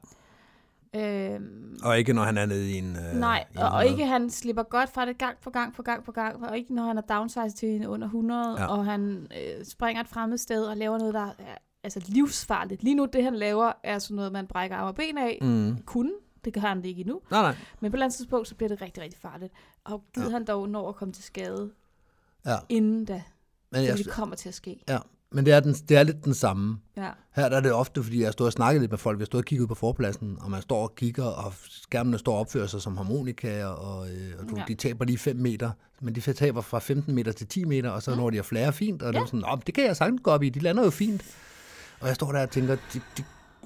Speaker 2: Øhm,
Speaker 1: Og ikke når han er nede i en... Øh,
Speaker 2: nej,
Speaker 1: i en
Speaker 2: og, og
Speaker 1: noget.
Speaker 2: ikke han slipper godt fra det gang på gang på gang på gang, og ikke når han er downsized til en under 100, ja.
Speaker 1: Ja.
Speaker 2: og han øh, springer et fremmed sted og laver noget, der er altså livsfarligt. Lige nu, det han laver, er sådan noget, man brækker arm og ben af,
Speaker 1: Mm.
Speaker 2: kunne. Det kan han det ikke endnu.
Speaker 1: Nej, nej.
Speaker 2: Men på et eller andet tidspunkt, så bliver det rigtig, rigtig farligt. Og gider ja.
Speaker 1: Ja.
Speaker 2: han dog når at komme til skade,
Speaker 1: Ja.
Speaker 2: inden da,
Speaker 1: Men,
Speaker 2: fordi
Speaker 1: jeg,
Speaker 2: det kommer til at ske.
Speaker 1: ja. Men det, er den, det er lidt den samme.
Speaker 2: Ja.
Speaker 1: Her der er det ofte, fordi jeg har stået og snakket lidt med folk. Vi har stået og kigget ud på forpladsen, og man står og kigger, og skærmene står og opfører sig som harmonikaer, og, øh, og du,
Speaker 2: Ja.
Speaker 1: ja. de taber lige 5 meter, men de taber fra 15 meter til 10 meter, og så når de at flære fint, og ja. det er sådan, "Nå, men det kan jeg sagtens gå op i, de lander jo fint. Og jeg står der og tænker, de, de,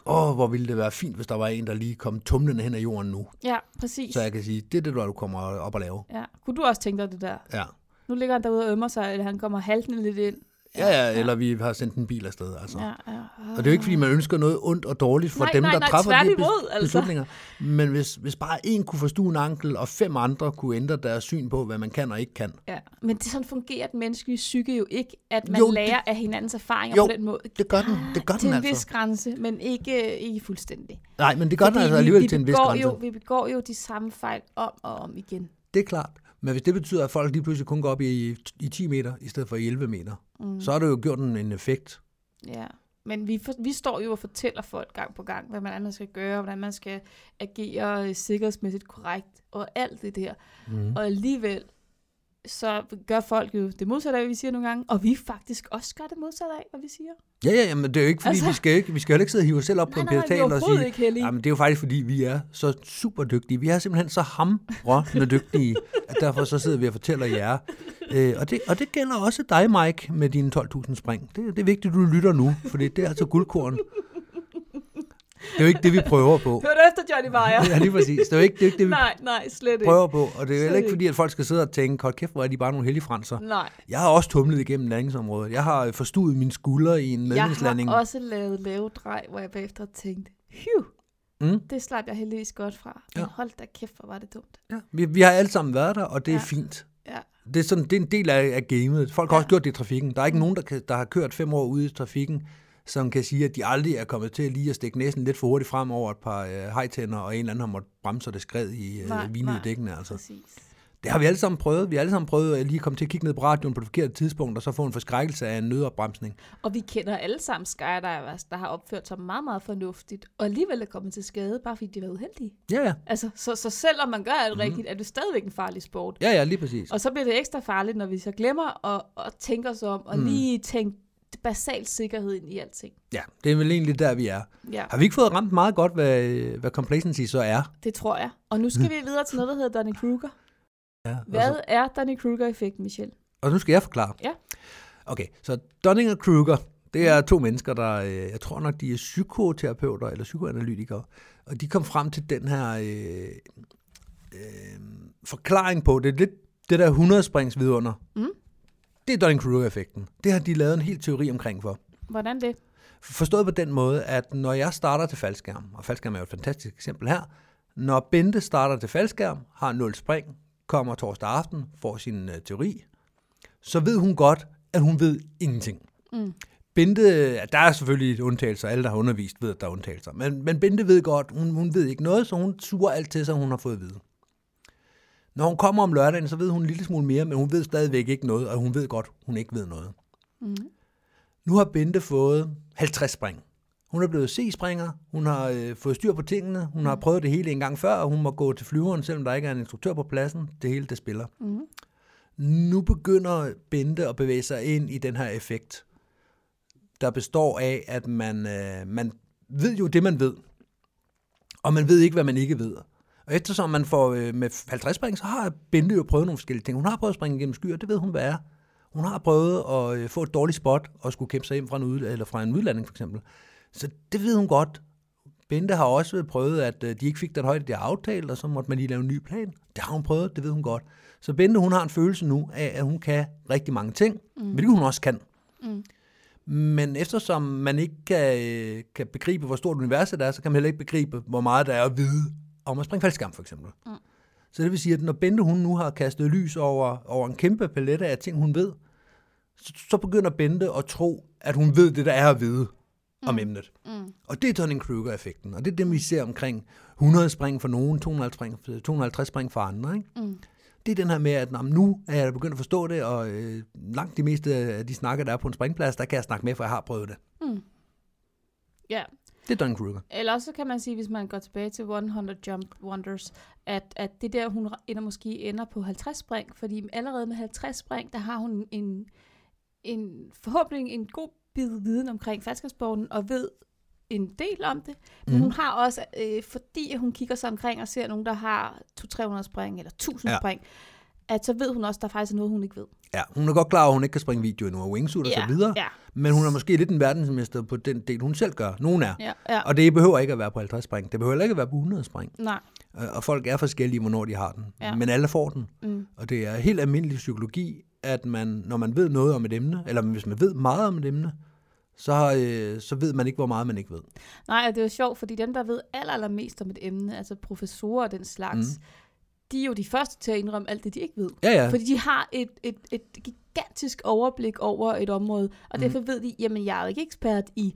Speaker 1: åh, hvor ville det være fint, hvis der var en, der lige kom tumlende hen ad jorden nu.
Speaker 2: ja, præcis.
Speaker 1: Så jeg kan sige, det er det, du kommer op og lave.
Speaker 2: Ja. Kunne du også tænke dig det der?
Speaker 1: Ja.
Speaker 2: Nu ligger han derude og ømmer sig, eller han kommer haltende lidt ind.
Speaker 1: Ja, ja, eller vi har sendt en bil afsted. Altså.
Speaker 2: Ja, ja.
Speaker 1: Og det er jo ikke, fordi man ønsker noget ondt og dårligt for
Speaker 2: Nej,
Speaker 1: dem,
Speaker 2: nej,
Speaker 1: der
Speaker 2: nej,
Speaker 1: træffer de
Speaker 2: tværtimod,
Speaker 1: bes-
Speaker 2: altså.
Speaker 1: beslutninger. Men hvis, hvis bare en kunne forstue en ankel, og fem andre kunne ændre deres syn på, hvad man kan og ikke kan.
Speaker 2: Ja. Men det sådan fungerer den menneskelige psyke jo ikke, at man
Speaker 1: Jo,
Speaker 2: jo,
Speaker 1: det-
Speaker 2: lærer af hinandens erfaringer
Speaker 1: Jo,
Speaker 2: på den måde.
Speaker 1: Det gør den, det gør
Speaker 2: til
Speaker 1: den
Speaker 2: en vis
Speaker 1: altså.
Speaker 2: grænse, men ikke, øh, ikke fuldstændig.
Speaker 1: Nej, men det gør den
Speaker 2: Fordi
Speaker 1: altså
Speaker 2: vi-
Speaker 1: alligevel
Speaker 2: vi
Speaker 1: til en vis
Speaker 2: begår
Speaker 1: grænse.
Speaker 2: Jo, vi begår jo de samme fejl om og om igen.
Speaker 1: Det er klart. Men hvis det betyder, at folk lige pludselig kun går op i, i 10 meter, i stedet for i 11 meter, mm. så har det jo gjort en, en effekt.
Speaker 2: Ja, men vi, for, vi står jo og fortæller folk gang på gang, hvad man, hvordan man skal gøre, hvordan man skal agere øh, sikkerhedsmæssigt korrekt og alt det der. Mm. Og alligevel, så gør folk jo det modsatte af, hvad vi siger nogle gange, og vi faktisk også gør det modsatte af, hvad vi siger.
Speaker 1: Ja, ja, ja, men det er jo ikke, fordi
Speaker 2: Altså-
Speaker 1: altså... vi, skal ikke, vi skal heller ikke sidde og hive os selv op på
Speaker 2: Nej,
Speaker 1: en
Speaker 2: nej, nej, vi er
Speaker 1: pedestal og
Speaker 2: overhovedet
Speaker 1: sige,
Speaker 2: ikke heldige.
Speaker 1: jamen, det er jo faktisk, fordi vi er så super dygtige. Vi er simpelthen så hamrende dygtige, at derfor så sidder vi og fortæller jer. Øh, og, det, og det gælder også dig, Mike, med dine 12.000 spring. Det, det er vigtigt, at du lytter nu, for det er altså guldkorn. Det er jo ikke det, vi prøver på.
Speaker 2: Hør du efter, Johnny Meyer?
Speaker 1: Ja, lige præcis. Det er jo ikke det, er jo ikke det vi
Speaker 2: nej, nej, slet ikke.
Speaker 1: prøver på, og det er jo heller ikke, fordi at folk skal sidde og tænke, hold kæft, hvor er de bare nogle heldige franser.
Speaker 2: Nej,
Speaker 1: Jeg har også tumlet igennem landingsområdet. Jeg har øh, forstuet mine skuldre i en
Speaker 2: jeg
Speaker 1: medlemslanding.
Speaker 2: har også lavet lave drej, hvor jeg bagefter tænkte, hyv,
Speaker 1: Mm.
Speaker 2: det slap jeg heldigvis godt fra. Men
Speaker 1: Ja.
Speaker 2: hold da kæft, hvor var det dumt.
Speaker 1: Ja, vi, vi har alle sammen været der, og det ja.
Speaker 2: Ja.
Speaker 1: er fint.
Speaker 2: Ja.
Speaker 1: Det er, sådan, det er en del af, af gamet. Folk har
Speaker 2: Ja. Mm.
Speaker 1: også gjort det i trafikken. Der er ikke nogen, der, kan, der har kørt fem år ude i trafikken, som kan sige, at de aldrig er kommet til lige at stikke næsen lidt for hurtigt frem over et par øh, hejtænder, og en eller anden har måttet bremse, og det skred i
Speaker 2: Nej,
Speaker 1: øh, vinet
Speaker 2: nej.
Speaker 1: i dækkene. Altså.
Speaker 2: Præcis.
Speaker 1: Det har vi alle sammen prøvet. Vi har alle sammen prøvet at lige komme til at kigge ned på radioen på det forkerte tidspunkt, og så få en forskrækkelse af en nødopbremsning.
Speaker 2: Og vi kender alle sammen skydivers, der har opført sig meget, meget fornuftigt, og alligevel er kommet til skade, bare fordi de var uheldige.
Speaker 1: Ja, ja.
Speaker 2: Altså, så, så selvom man gør alt mm. rigtigt, er det stadigvæk en farlig sport.
Speaker 1: Mhm. Ja, ja, lige præcis.
Speaker 2: Og så bliver det ekstra farligt, når vi så glemmer at, at tænke os om, og mm. lige tænke basal sikkerhed ind i alting.
Speaker 1: Ja, det er vel egentlig der, vi er.
Speaker 2: Ja,
Speaker 1: Har vi ikke fået ramt meget godt, hvad, hvad complacency så er?
Speaker 2: det tror jeg. Og nu
Speaker 1: Mm.
Speaker 2: skal vi videre til noget, der hedder Donny Kruger.
Speaker 1: Ja,
Speaker 2: Hvad er Donny Kruger-effekten, Michelle?
Speaker 1: Og nu skal jeg forklare.
Speaker 2: Ja.
Speaker 1: Okay, så Dunning og Kruger, det er to mennesker, der, øh, jeg tror nok, de er psykoterapeuter eller psykoanalytikere, og de kom frem til den her øh, øh, forklaring på, det er lidt det der 100 springs vidunder.
Speaker 2: Mm.
Speaker 1: Det er Dunning Kruger effekten Det har de lavet en hel teori omkring for.
Speaker 2: Hvordan det?
Speaker 1: Forstået på den måde, at når jeg starter til faldskærm, og faldskærm er jo et fantastisk eksempel her, når Bente starter til faldskærm, har 0 spring, kommer torsdag aften, får sin øh, teori, så ved hun godt, at hun ved ingenting.
Speaker 2: Mm.
Speaker 1: Bente, ja, der er selvfølgelig undtagelser, alle der har undervist ved, at der er undtagelser, men, men Bente ved godt, hun, hun ved ikke noget, så hun suger alt til sig, hun har fået at vide. Når hun kommer om lørdagen, så ved hun en lille smule mere, men hun ved stadigvæk ikke noget, og hun ved godt, hun ikke ved noget.
Speaker 2: Mm.
Speaker 1: Nu har Bente fået 50 spring. Hun er blevet C-springer, hun har øh, fået styr på tingene, hun har prøvet det hele en gang før, og hun må gå til flyveren, selvom der ikke er en instruktør på pladsen. Det hele, det spiller.
Speaker 2: Mm.
Speaker 1: Nu begynder Bente at bevæge sig ind i den her effekt. der består af, at man, øh, man ved jo det, man ved, og man ved ikke, hvad man ikke ved. Og eftersom man får øh, med 50 spring, så har Bente jo prøvet nogle forskellige ting. Hun har prøvet at springe gennem skyer, det ved hun, hvad er. Hun har prøvet at øh, få et dårligt spot og skulle kæmpe sig hjem fra en, ud, eller fra en udlanding, for eksempel. Så det ved hun godt. Bente har også prøvet, at øh, de ikke fik den højde, de har aftalt, og så måtte man lige lave en ny plan. Det har hun prøvet, det ved hun godt. Så Bente, hun har en følelse nu af, at hun kan rigtig mange ting, mm. hvilket hun også kan. Mm. Men eftersom man ikke kan, øh, kan begribe, hvor stort universet er, så kan man heller ikke begribe, hvor meget der er at vide om at springe faldskærm, for eksempel. Mm. Så det vil sige, at når Bente hun nu har kastet lys over, over en kæmpe palet af ting, hun ved, så, så begynder Bente at tro, at hun ved det, der er at vide mm. om emnet. Mm. Og det er Dunning-Kruger-effekten, og det er det, vi ser omkring 100 spring for nogen, 250 spring, 250 spring for andre. Ikke? Mm. Det er den her med, at "Nå, men nu er jeg begyndt at forstå det, og øh, langt de meste af de snakker, der er på en springplads, der kan jeg snakke med, for jeg har prøvet det.
Speaker 2: Ja.
Speaker 1: Det er Dunning-Kruger.
Speaker 2: Eller også så kan man sige, hvis man går tilbage til 100 Jump Wonders, at, at det der, hun ender måske ender på 50 spring, fordi allerede med 50 spring, der har hun en, en forhåbentlig en god bid viden omkring faldskabssporten og ved en del om det.
Speaker 1: Mhm.
Speaker 2: Men mm. hun har også, øh, fordi hun kigger sig omkring og ser nogen, der har 200-300 spring eller 1000
Speaker 1: Ja.
Speaker 2: ja. spring, at så ved hun også, at der faktisk er noget, hun ikke ved.
Speaker 1: Ja, hun er godt klar over, at hun ikke kan springe video endnu, og wingsuit og
Speaker 2: Ja,
Speaker 1: så videre,
Speaker 2: ja.
Speaker 1: men hun er måske lidt en verdensmester på den del, hun selv gør. Nogen er.
Speaker 2: Ja, ja.
Speaker 1: Og det behøver ikke at være på 50 spring. Det behøver heller ikke at være på 100 spring.
Speaker 2: Nej.
Speaker 1: Øh, Og folk er forskellige, hvornår de har den. Ja.
Speaker 2: Ja.
Speaker 1: Men alle får den.
Speaker 2: Mm.
Speaker 1: Og det er helt almindelig psykologi, at man, når man ved noget om et emne, eller hvis man ved meget om et emne, så, øh, så ved man ikke, hvor meget man ikke ved.
Speaker 2: Nej, og det er jo sjovt, fordi dem, der ved aller, allermest om et emne, altså professorer og den slags, mm. de er jo de første til at indrømme alt det, de ikke ved.
Speaker 1: Ja, ja.
Speaker 2: Fordi de har et, et, et gigantisk overblik over et område, og derfor
Speaker 1: Mm.
Speaker 2: ved de, jamen jeg er jo ikke ekspert i,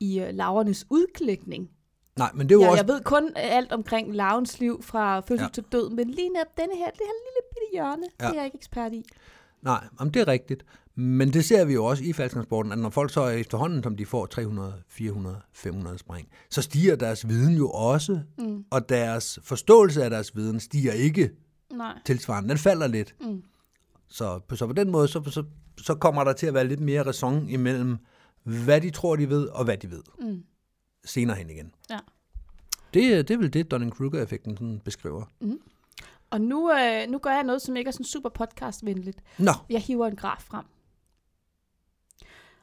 Speaker 2: i uh, lavernes udklækning.
Speaker 1: Nej, men det er jo
Speaker 2: Jeg,
Speaker 1: også...
Speaker 2: jeg ved kun øh, alt omkring lavens liv fra fødsel
Speaker 1: Ja.
Speaker 2: ja. til død, men lige netop denne her, det her lille bitte hjørne, ja.
Speaker 1: Ja.
Speaker 2: det er jeg ikke ekspert i.
Speaker 1: Nej, om det er rigtigt. Men det ser vi jo også i faldskærmsporten, at når folk så er efterhånden, som de får 300, 400, 500 spring, så stiger deres viden jo også, mm. og deres forståelse af deres viden stiger ikke
Speaker 2: Nej.
Speaker 1: tilsvarende. Den falder lidt. Mm. Så, på- så på den måde, så, så, så kommer der til at være lidt mere ræson imellem, hvad de tror, de ved, og hvad de ved. Mm. Senere hen igen.
Speaker 2: Ja.
Speaker 1: Det, er- det er vel det, Dunning-Kruger-effekten sådan beskriver.
Speaker 2: Og nu, øh, nu gør jeg noget, som ikke er sådan super podcastvenligt.
Speaker 1: Nå,
Speaker 2: Jeg hiver en graf frem.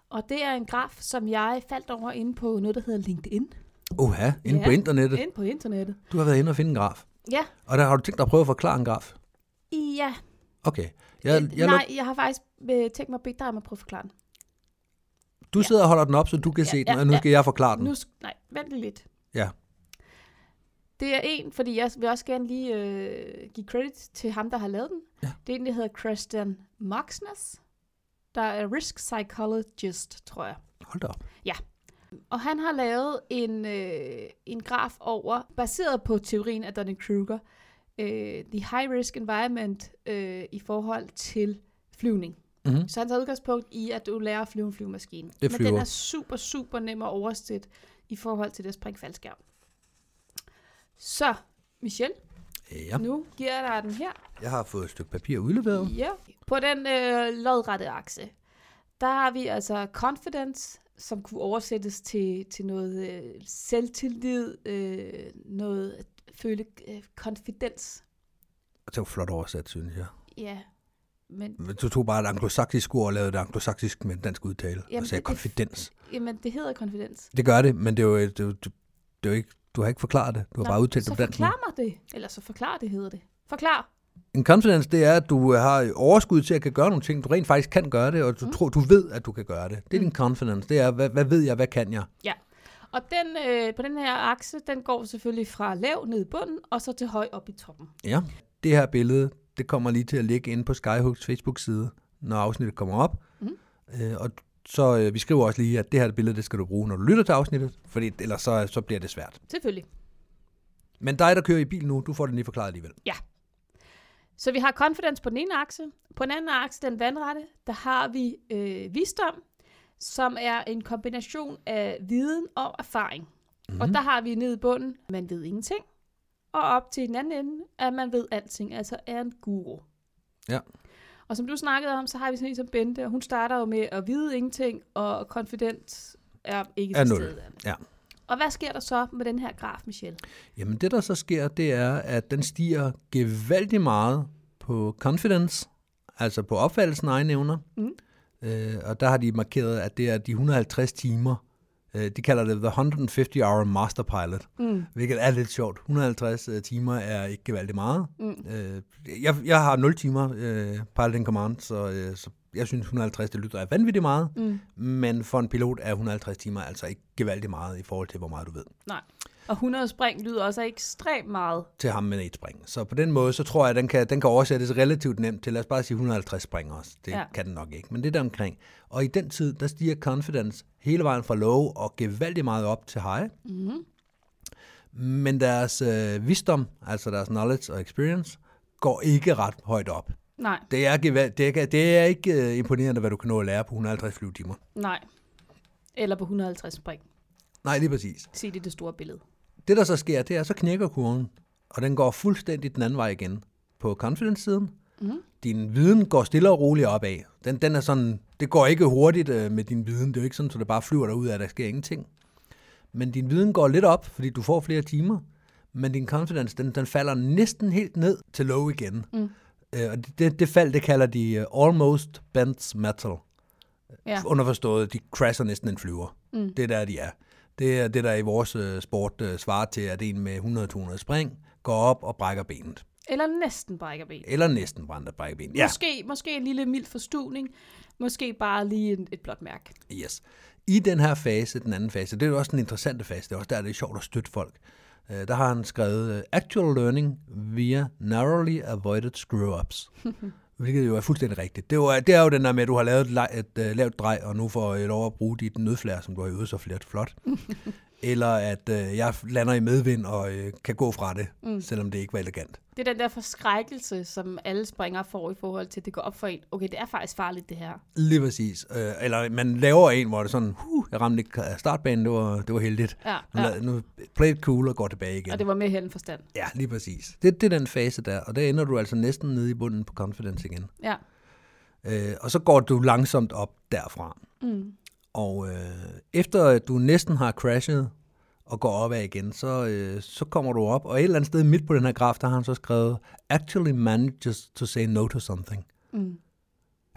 Speaker 2: Og det er en graf, som jeg faldt over inde på noget, der hedder LinkedIn.
Speaker 1: oha, inde ja.
Speaker 2: Ja.
Speaker 1: på internettet.
Speaker 2: Inde på internettet.
Speaker 1: Du har været inde og finde en graf.
Speaker 2: Ja,
Speaker 1: Og der har du tænkt dig at prøve at forklare en graf.
Speaker 2: ja.
Speaker 1: Okay. Jeg, jeg,
Speaker 2: Nej,
Speaker 1: Nej.
Speaker 2: jeg har faktisk øh, tænkt mig at bede dig om at prøve at forklare den.
Speaker 1: Du sidder og holder den op, så du kan ja, se den,
Speaker 2: ja,
Speaker 1: og nu
Speaker 2: ja.
Speaker 1: skal jeg forklare den.
Speaker 2: Nu, sk- nej, vent lige lidt.
Speaker 1: Ja.
Speaker 2: Det er en, fordi jeg vil også gerne lige øh, give credit til ham, der har lavet den.
Speaker 1: Ja.
Speaker 2: Det er en, der hedder Christian Moxnes, der er risk psychologist, tror jeg.
Speaker 1: Hold da op.
Speaker 2: Og han har lavet en, øh, en graf over, baseret på teorien af Dunning-Kruger, øh, the high risk environment øh, i forhold til flyvning.
Speaker 1: Mhm.
Speaker 2: Så han tager udgangspunkt i, at du lærer at flyve en flyvemaskine.
Speaker 1: Det
Speaker 2: Men den
Speaker 1: flyver.
Speaker 2: er super, super nem at oversætte i forhold til det at springe faldskærm. Så, Michelle,
Speaker 1: Ja.
Speaker 2: nu giver jeg dig den her.
Speaker 1: Jeg har fået et stykke papir udleveret.
Speaker 2: Ja. På den øh, lodrette akse, der har vi altså confidence, som kunne oversættes til, til noget øh, selvtillid, øh, noget at føle øh, confidence.
Speaker 1: Det var flot oversat, synes jeg.
Speaker 2: Ja, men
Speaker 1: Men Du tog bare et anglosaksisk ord og lavede det anglosaksisk med en dansk udtale. Jamen,
Speaker 2: Jamen,
Speaker 1: og sagde
Speaker 2: det- det-
Speaker 1: konfidens.
Speaker 2: jamen, det hedder confidence.
Speaker 1: Det gør det, men det er jo, det er jo, det er jo ikke, du har ikke forklaret det. Du har Nå, bare udtalt
Speaker 2: så
Speaker 1: det på dansk. nu.
Speaker 2: forklar mig det. Eller så forklar det, hedder det. Forklar.
Speaker 1: En confidence, det er, at du har overskud til at kan gøre nogle ting. Du rent faktisk kan gøre det, og du mm. tror, du ved, at du kan gøre det. Det
Speaker 2: Mm.
Speaker 1: er din confidence. Det er, hvad, hvad ved jeg, hvad kan jeg?
Speaker 2: Ja. Og den, øh, på den her akse, den går selvfølgelig fra lav ned i bunden, og så til høj op i toppen.
Speaker 1: Ja. Det her billede, det kommer lige til at ligge inde på Skyhooks Facebook-side, når afsnittet kommer op. Mm. Øh, og så øh, vi skriver også lige, at det her billede, det skal du bruge, når du lytter til afsnittet, for ellers så, så bliver det svært.
Speaker 2: Selvfølgelig.
Speaker 1: Men dig, der kører i bil nu, du får det lige forklaret alligevel.
Speaker 2: Så vi har confidence på den ene akse. På den anden akse, den vandrette, der har vi øh, visdom, som er en kombination af viden og erfaring.
Speaker 1: Mhm.
Speaker 2: Mm-hmm. Og der har vi ned i bunden, man ved ingenting, og op til den anden ende, at man ved alting, altså er en guru.
Speaker 1: Ja.
Speaker 2: Og som du snakkede om, så har vi sådan en som Bente, og hun starter jo med at vide ingenting, og konfident er ikke
Speaker 1: Er
Speaker 2: til
Speaker 1: nul.
Speaker 2: stede.
Speaker 1: Ja.
Speaker 2: Og hvad sker der så med den her graf, Michelle?
Speaker 1: Jamen det, der så sker, det er, at den stiger gevaldigt meget på confidence, altså på opfattelsen af egne evner.
Speaker 2: Mm.
Speaker 1: Øh, og der har de markeret, at det er de 150 timer. Øh, de kalder det the 150-hour master pilot,
Speaker 2: Mm.
Speaker 1: hvilket er lidt sjovt. 150 øh, timer er ikke gevaldigt meget.
Speaker 2: Mm.
Speaker 1: Øh, jeg, jeg har 0 timer øh, pilot in command, så, øh, så jeg synes 150, det lyder vanvittigt meget.
Speaker 2: Mm.
Speaker 1: Men for en pilot er 150 timer altså ikke gevaldigt meget i forhold til, hvor meget du ved.
Speaker 2: Nej. Og 100 spring lyder også af ekstremt meget.
Speaker 1: til ham med et spring. Så på den måde, så tror jeg, at den kan, den kan oversættes relativt nemt til, lad os bare sige 150 spring også. Det
Speaker 2: Ja.
Speaker 1: ja. kan den nok ikke, men det er der omkring. Og i den tid, der stiger confidence hele vejen fra low og gevaldigt meget op til high. Mm-hmm. Men deres øh, visdom, altså deres knowledge og experience, går ikke ret højt op.
Speaker 2: Nej,
Speaker 1: Det er, gevald, det er, det er ikke øh, imponerende, hvad du kan nå at lære på 150 flyvetimer.
Speaker 2: nej. Eller på 150 spring.
Speaker 1: Nej, lige præcis.
Speaker 2: Se det i det store billede.
Speaker 1: Det, der så sker, det er, så knækker kurven, og den går fuldstændig den anden vej igen på confidence-siden. Mm. Din viden går stille og roligt opad. Den, den er sådan, det går ikke hurtigt øh, med din viden. Det er jo ikke sådan, at det bare flyver derud, at der sker ingenting. Men din viden går lidt op, fordi du får flere timer. Men din confidence, den, den falder næsten helt ned til low igen. Mm. Øh, og det, det, det fald, det kalder de øh, almost bends metal.
Speaker 2: Ja.
Speaker 1: Ja. Underforstået, de crasher næsten en flyver. Mm. Det er der, de er. Det er det, der i vores øh, sport øh, svarer til, at en med 100-200 spring går op og brækker benet.
Speaker 2: Eller næsten brækker ben.
Speaker 1: Eller næsten brænder brækker benet. Ja,
Speaker 2: Måske, måske en lille mild forstuvning. Måske bare lige en, et blåt mærke.
Speaker 1: yes. I den her fase, den anden fase, det er jo også den interessante fase. Det er også der, det er sjovt at støtte folk. Øh, Der har han skrevet øh, Actual Learning via Narrowly Avoided Screw-Ups. Hvilket jo er fuldstændig rigtigt. Det er, jo, øh, det er jo den der med, at du har lavet et, le- et uh, lavt drej, og nu får jeg lov at bruge dit nødflær, som du har øvet så flert flot. Eller at uh, jeg lander i medvind og uh, kan gå fra det, mm. selvom det ikke var elegant.
Speaker 2: Det er den der forskrækkelse, som alle springere får i forhold til, at det går op for en. Okay, det er faktisk farligt, det her.
Speaker 1: Lige præcis. Uh, eller man laver en, hvor det er sådan, huh, jeg ramte ikke af startbanen, det var, det var heldigt.
Speaker 2: Ja,
Speaker 1: Nu,
Speaker 2: ja.
Speaker 1: lad- nu play it cool og går tilbage igen.
Speaker 2: Og det var med held end forstand.
Speaker 1: Ja, lige præcis. Det, det er den fase der, og der ender du altså næsten nede i bunden på confidence igen.
Speaker 2: Ja.
Speaker 1: Øh, og så går du langsomt op derfra.
Speaker 2: Mm.
Speaker 1: Og øh, efter at du næsten har crashet og går opad igen, så, øh, så kommer du op. Og et eller andet sted midt på den her graf, der har han så skrevet, actually manages to say no to something.
Speaker 2: Mm.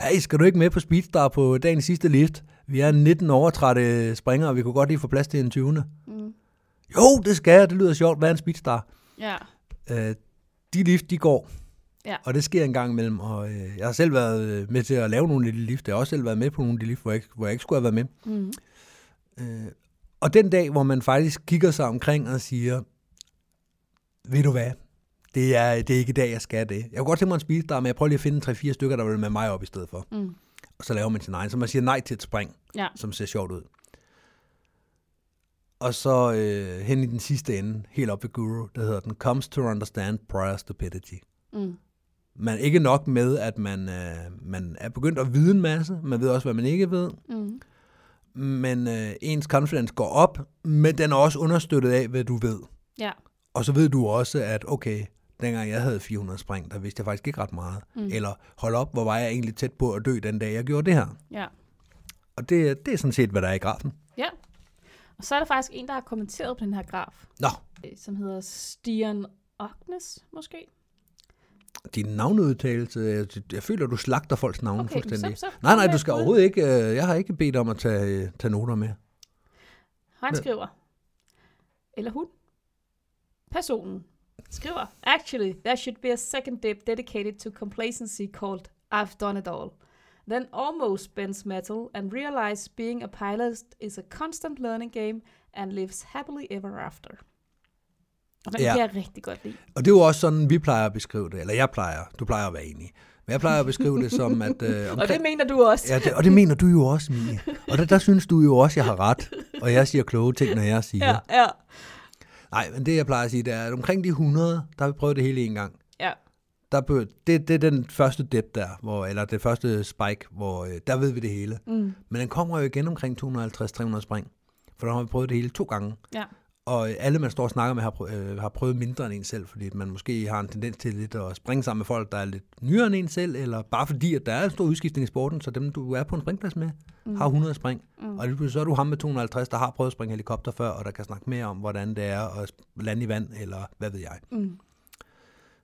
Speaker 1: Hey, skal du ikke med på Speedstar på dagens sidste lift? Vi er 19 overtrætte springere, og vi kunne godt lige få plads til en 20.
Speaker 2: Mm.
Speaker 1: Jo, det skal jeg. Det lyder sjovt. Hvad er en Speedstar?
Speaker 2: Ja.
Speaker 1: øh, de lift, de går.
Speaker 2: Ja.
Speaker 1: Og det sker en gang imellem, og øh, jeg har selv været øh, med til at lave nogle af de lift. Jeg har også selv været med på nogle af de lift, hvor jeg, ikke- hvor jeg ikke skulle have været med.
Speaker 2: Mm.
Speaker 1: Øh, og den dag, hvor man faktisk kigger sig omkring og siger, ved du hvad, det er, det er ikke i dag, jeg skal det. Jeg kunne godt tænke mig en spise der, men jeg prøver lige at finde 3-4 stykker, der vil med mig op i stedet for.
Speaker 2: Mm.
Speaker 1: Og så laver man sin egen, så man siger nej til et spring
Speaker 2: Ja.
Speaker 1: som ser sjovt ud. Og så øh, hen i den sidste ende, helt op ved Guru, der hedder den, Comes to Understand Prior Stupidity.
Speaker 2: Mm.
Speaker 1: Man ikke nok med, at man, øh, man er begyndt at vide en masse, man ved også, hvad man ikke ved,
Speaker 2: Mm.
Speaker 1: men øh, ens confidence går op, men den er også understøttet af, hvad du ved.
Speaker 2: Ja.
Speaker 1: Og så ved du også, at okay, dengang jeg havde 400 spring, der vidste jeg faktisk ikke ret meget. Mm. Eller hold op, hvor var jeg egentlig tæt på at dø den dag, jeg gjorde det her.
Speaker 2: Ja.
Speaker 1: Og det, det er sådan set, hvad der er i grafen.
Speaker 2: Ja. Og så er der faktisk en, der har kommenteret på den her graf,
Speaker 1: Nå,
Speaker 2: øh, som hedder Stian Ognes, måske.
Speaker 1: din navneudtalelse, jeg, jeg føler, du slagter folks navne
Speaker 2: Okay,
Speaker 1: fuldstændig.
Speaker 2: så- så-
Speaker 1: nej, nej,
Speaker 2: kom
Speaker 1: du
Speaker 2: med
Speaker 1: skal
Speaker 2: et bud.
Speaker 1: overhovedet ikke, øh, jeg har ikke bedt om at tage, øh, tage noter med.
Speaker 2: Han
Speaker 1: Ja.
Speaker 2: skriver, eller hun, personen, skriver, Actually, there should be a second dip dedicated to complacency called I've done it all. Then almost bends metal and realize being a pilot is a constant learning game and lives happily ever after. Og den
Speaker 1: Ja.
Speaker 2: kan jeg rigtig godt lide.
Speaker 1: Og det er jo også sådan, vi plejer at beskrive det, eller jeg plejer, du plejer at være enig. Men jeg plejer at beskrive det som, at... Øh,
Speaker 2: Og det mener du også.
Speaker 1: ja, det, og det mener du jo også, Mie. Og der, der synes du jo også, jeg har ret, og jeg siger kloge ting, når jeg siger.
Speaker 2: ja, ja.
Speaker 1: Nej, men det jeg plejer at sige, det er, at omkring de 100, der har vi prøvet det hele en gang.
Speaker 2: ja.
Speaker 1: der bør, det, det er den første dip der, hvor, eller det første spike, hvor øh, der ved vi det hele. Mm. Men den kommer jo igen omkring 250-300 spring, for der har vi prøvet det hele to gange.
Speaker 2: Ja.
Speaker 1: Og øh, alle, man står og snakker med, har, prø- øh, har prøvet mindre end en selv, fordi man måske har en tendens til lidt at springe sammen med folk, der er lidt nyere end en selv, eller bare fordi, at der er en stor udskiftning i sporten, så dem, du er på en springplads med, mm. har 100 spring. Mm. Og lige pludselig så er du ham med 250, der har prøvet at springe helikopter før, og der kan snakke mere om, hvordan det er at lande i vand, eller hvad ved jeg.
Speaker 2: Mm.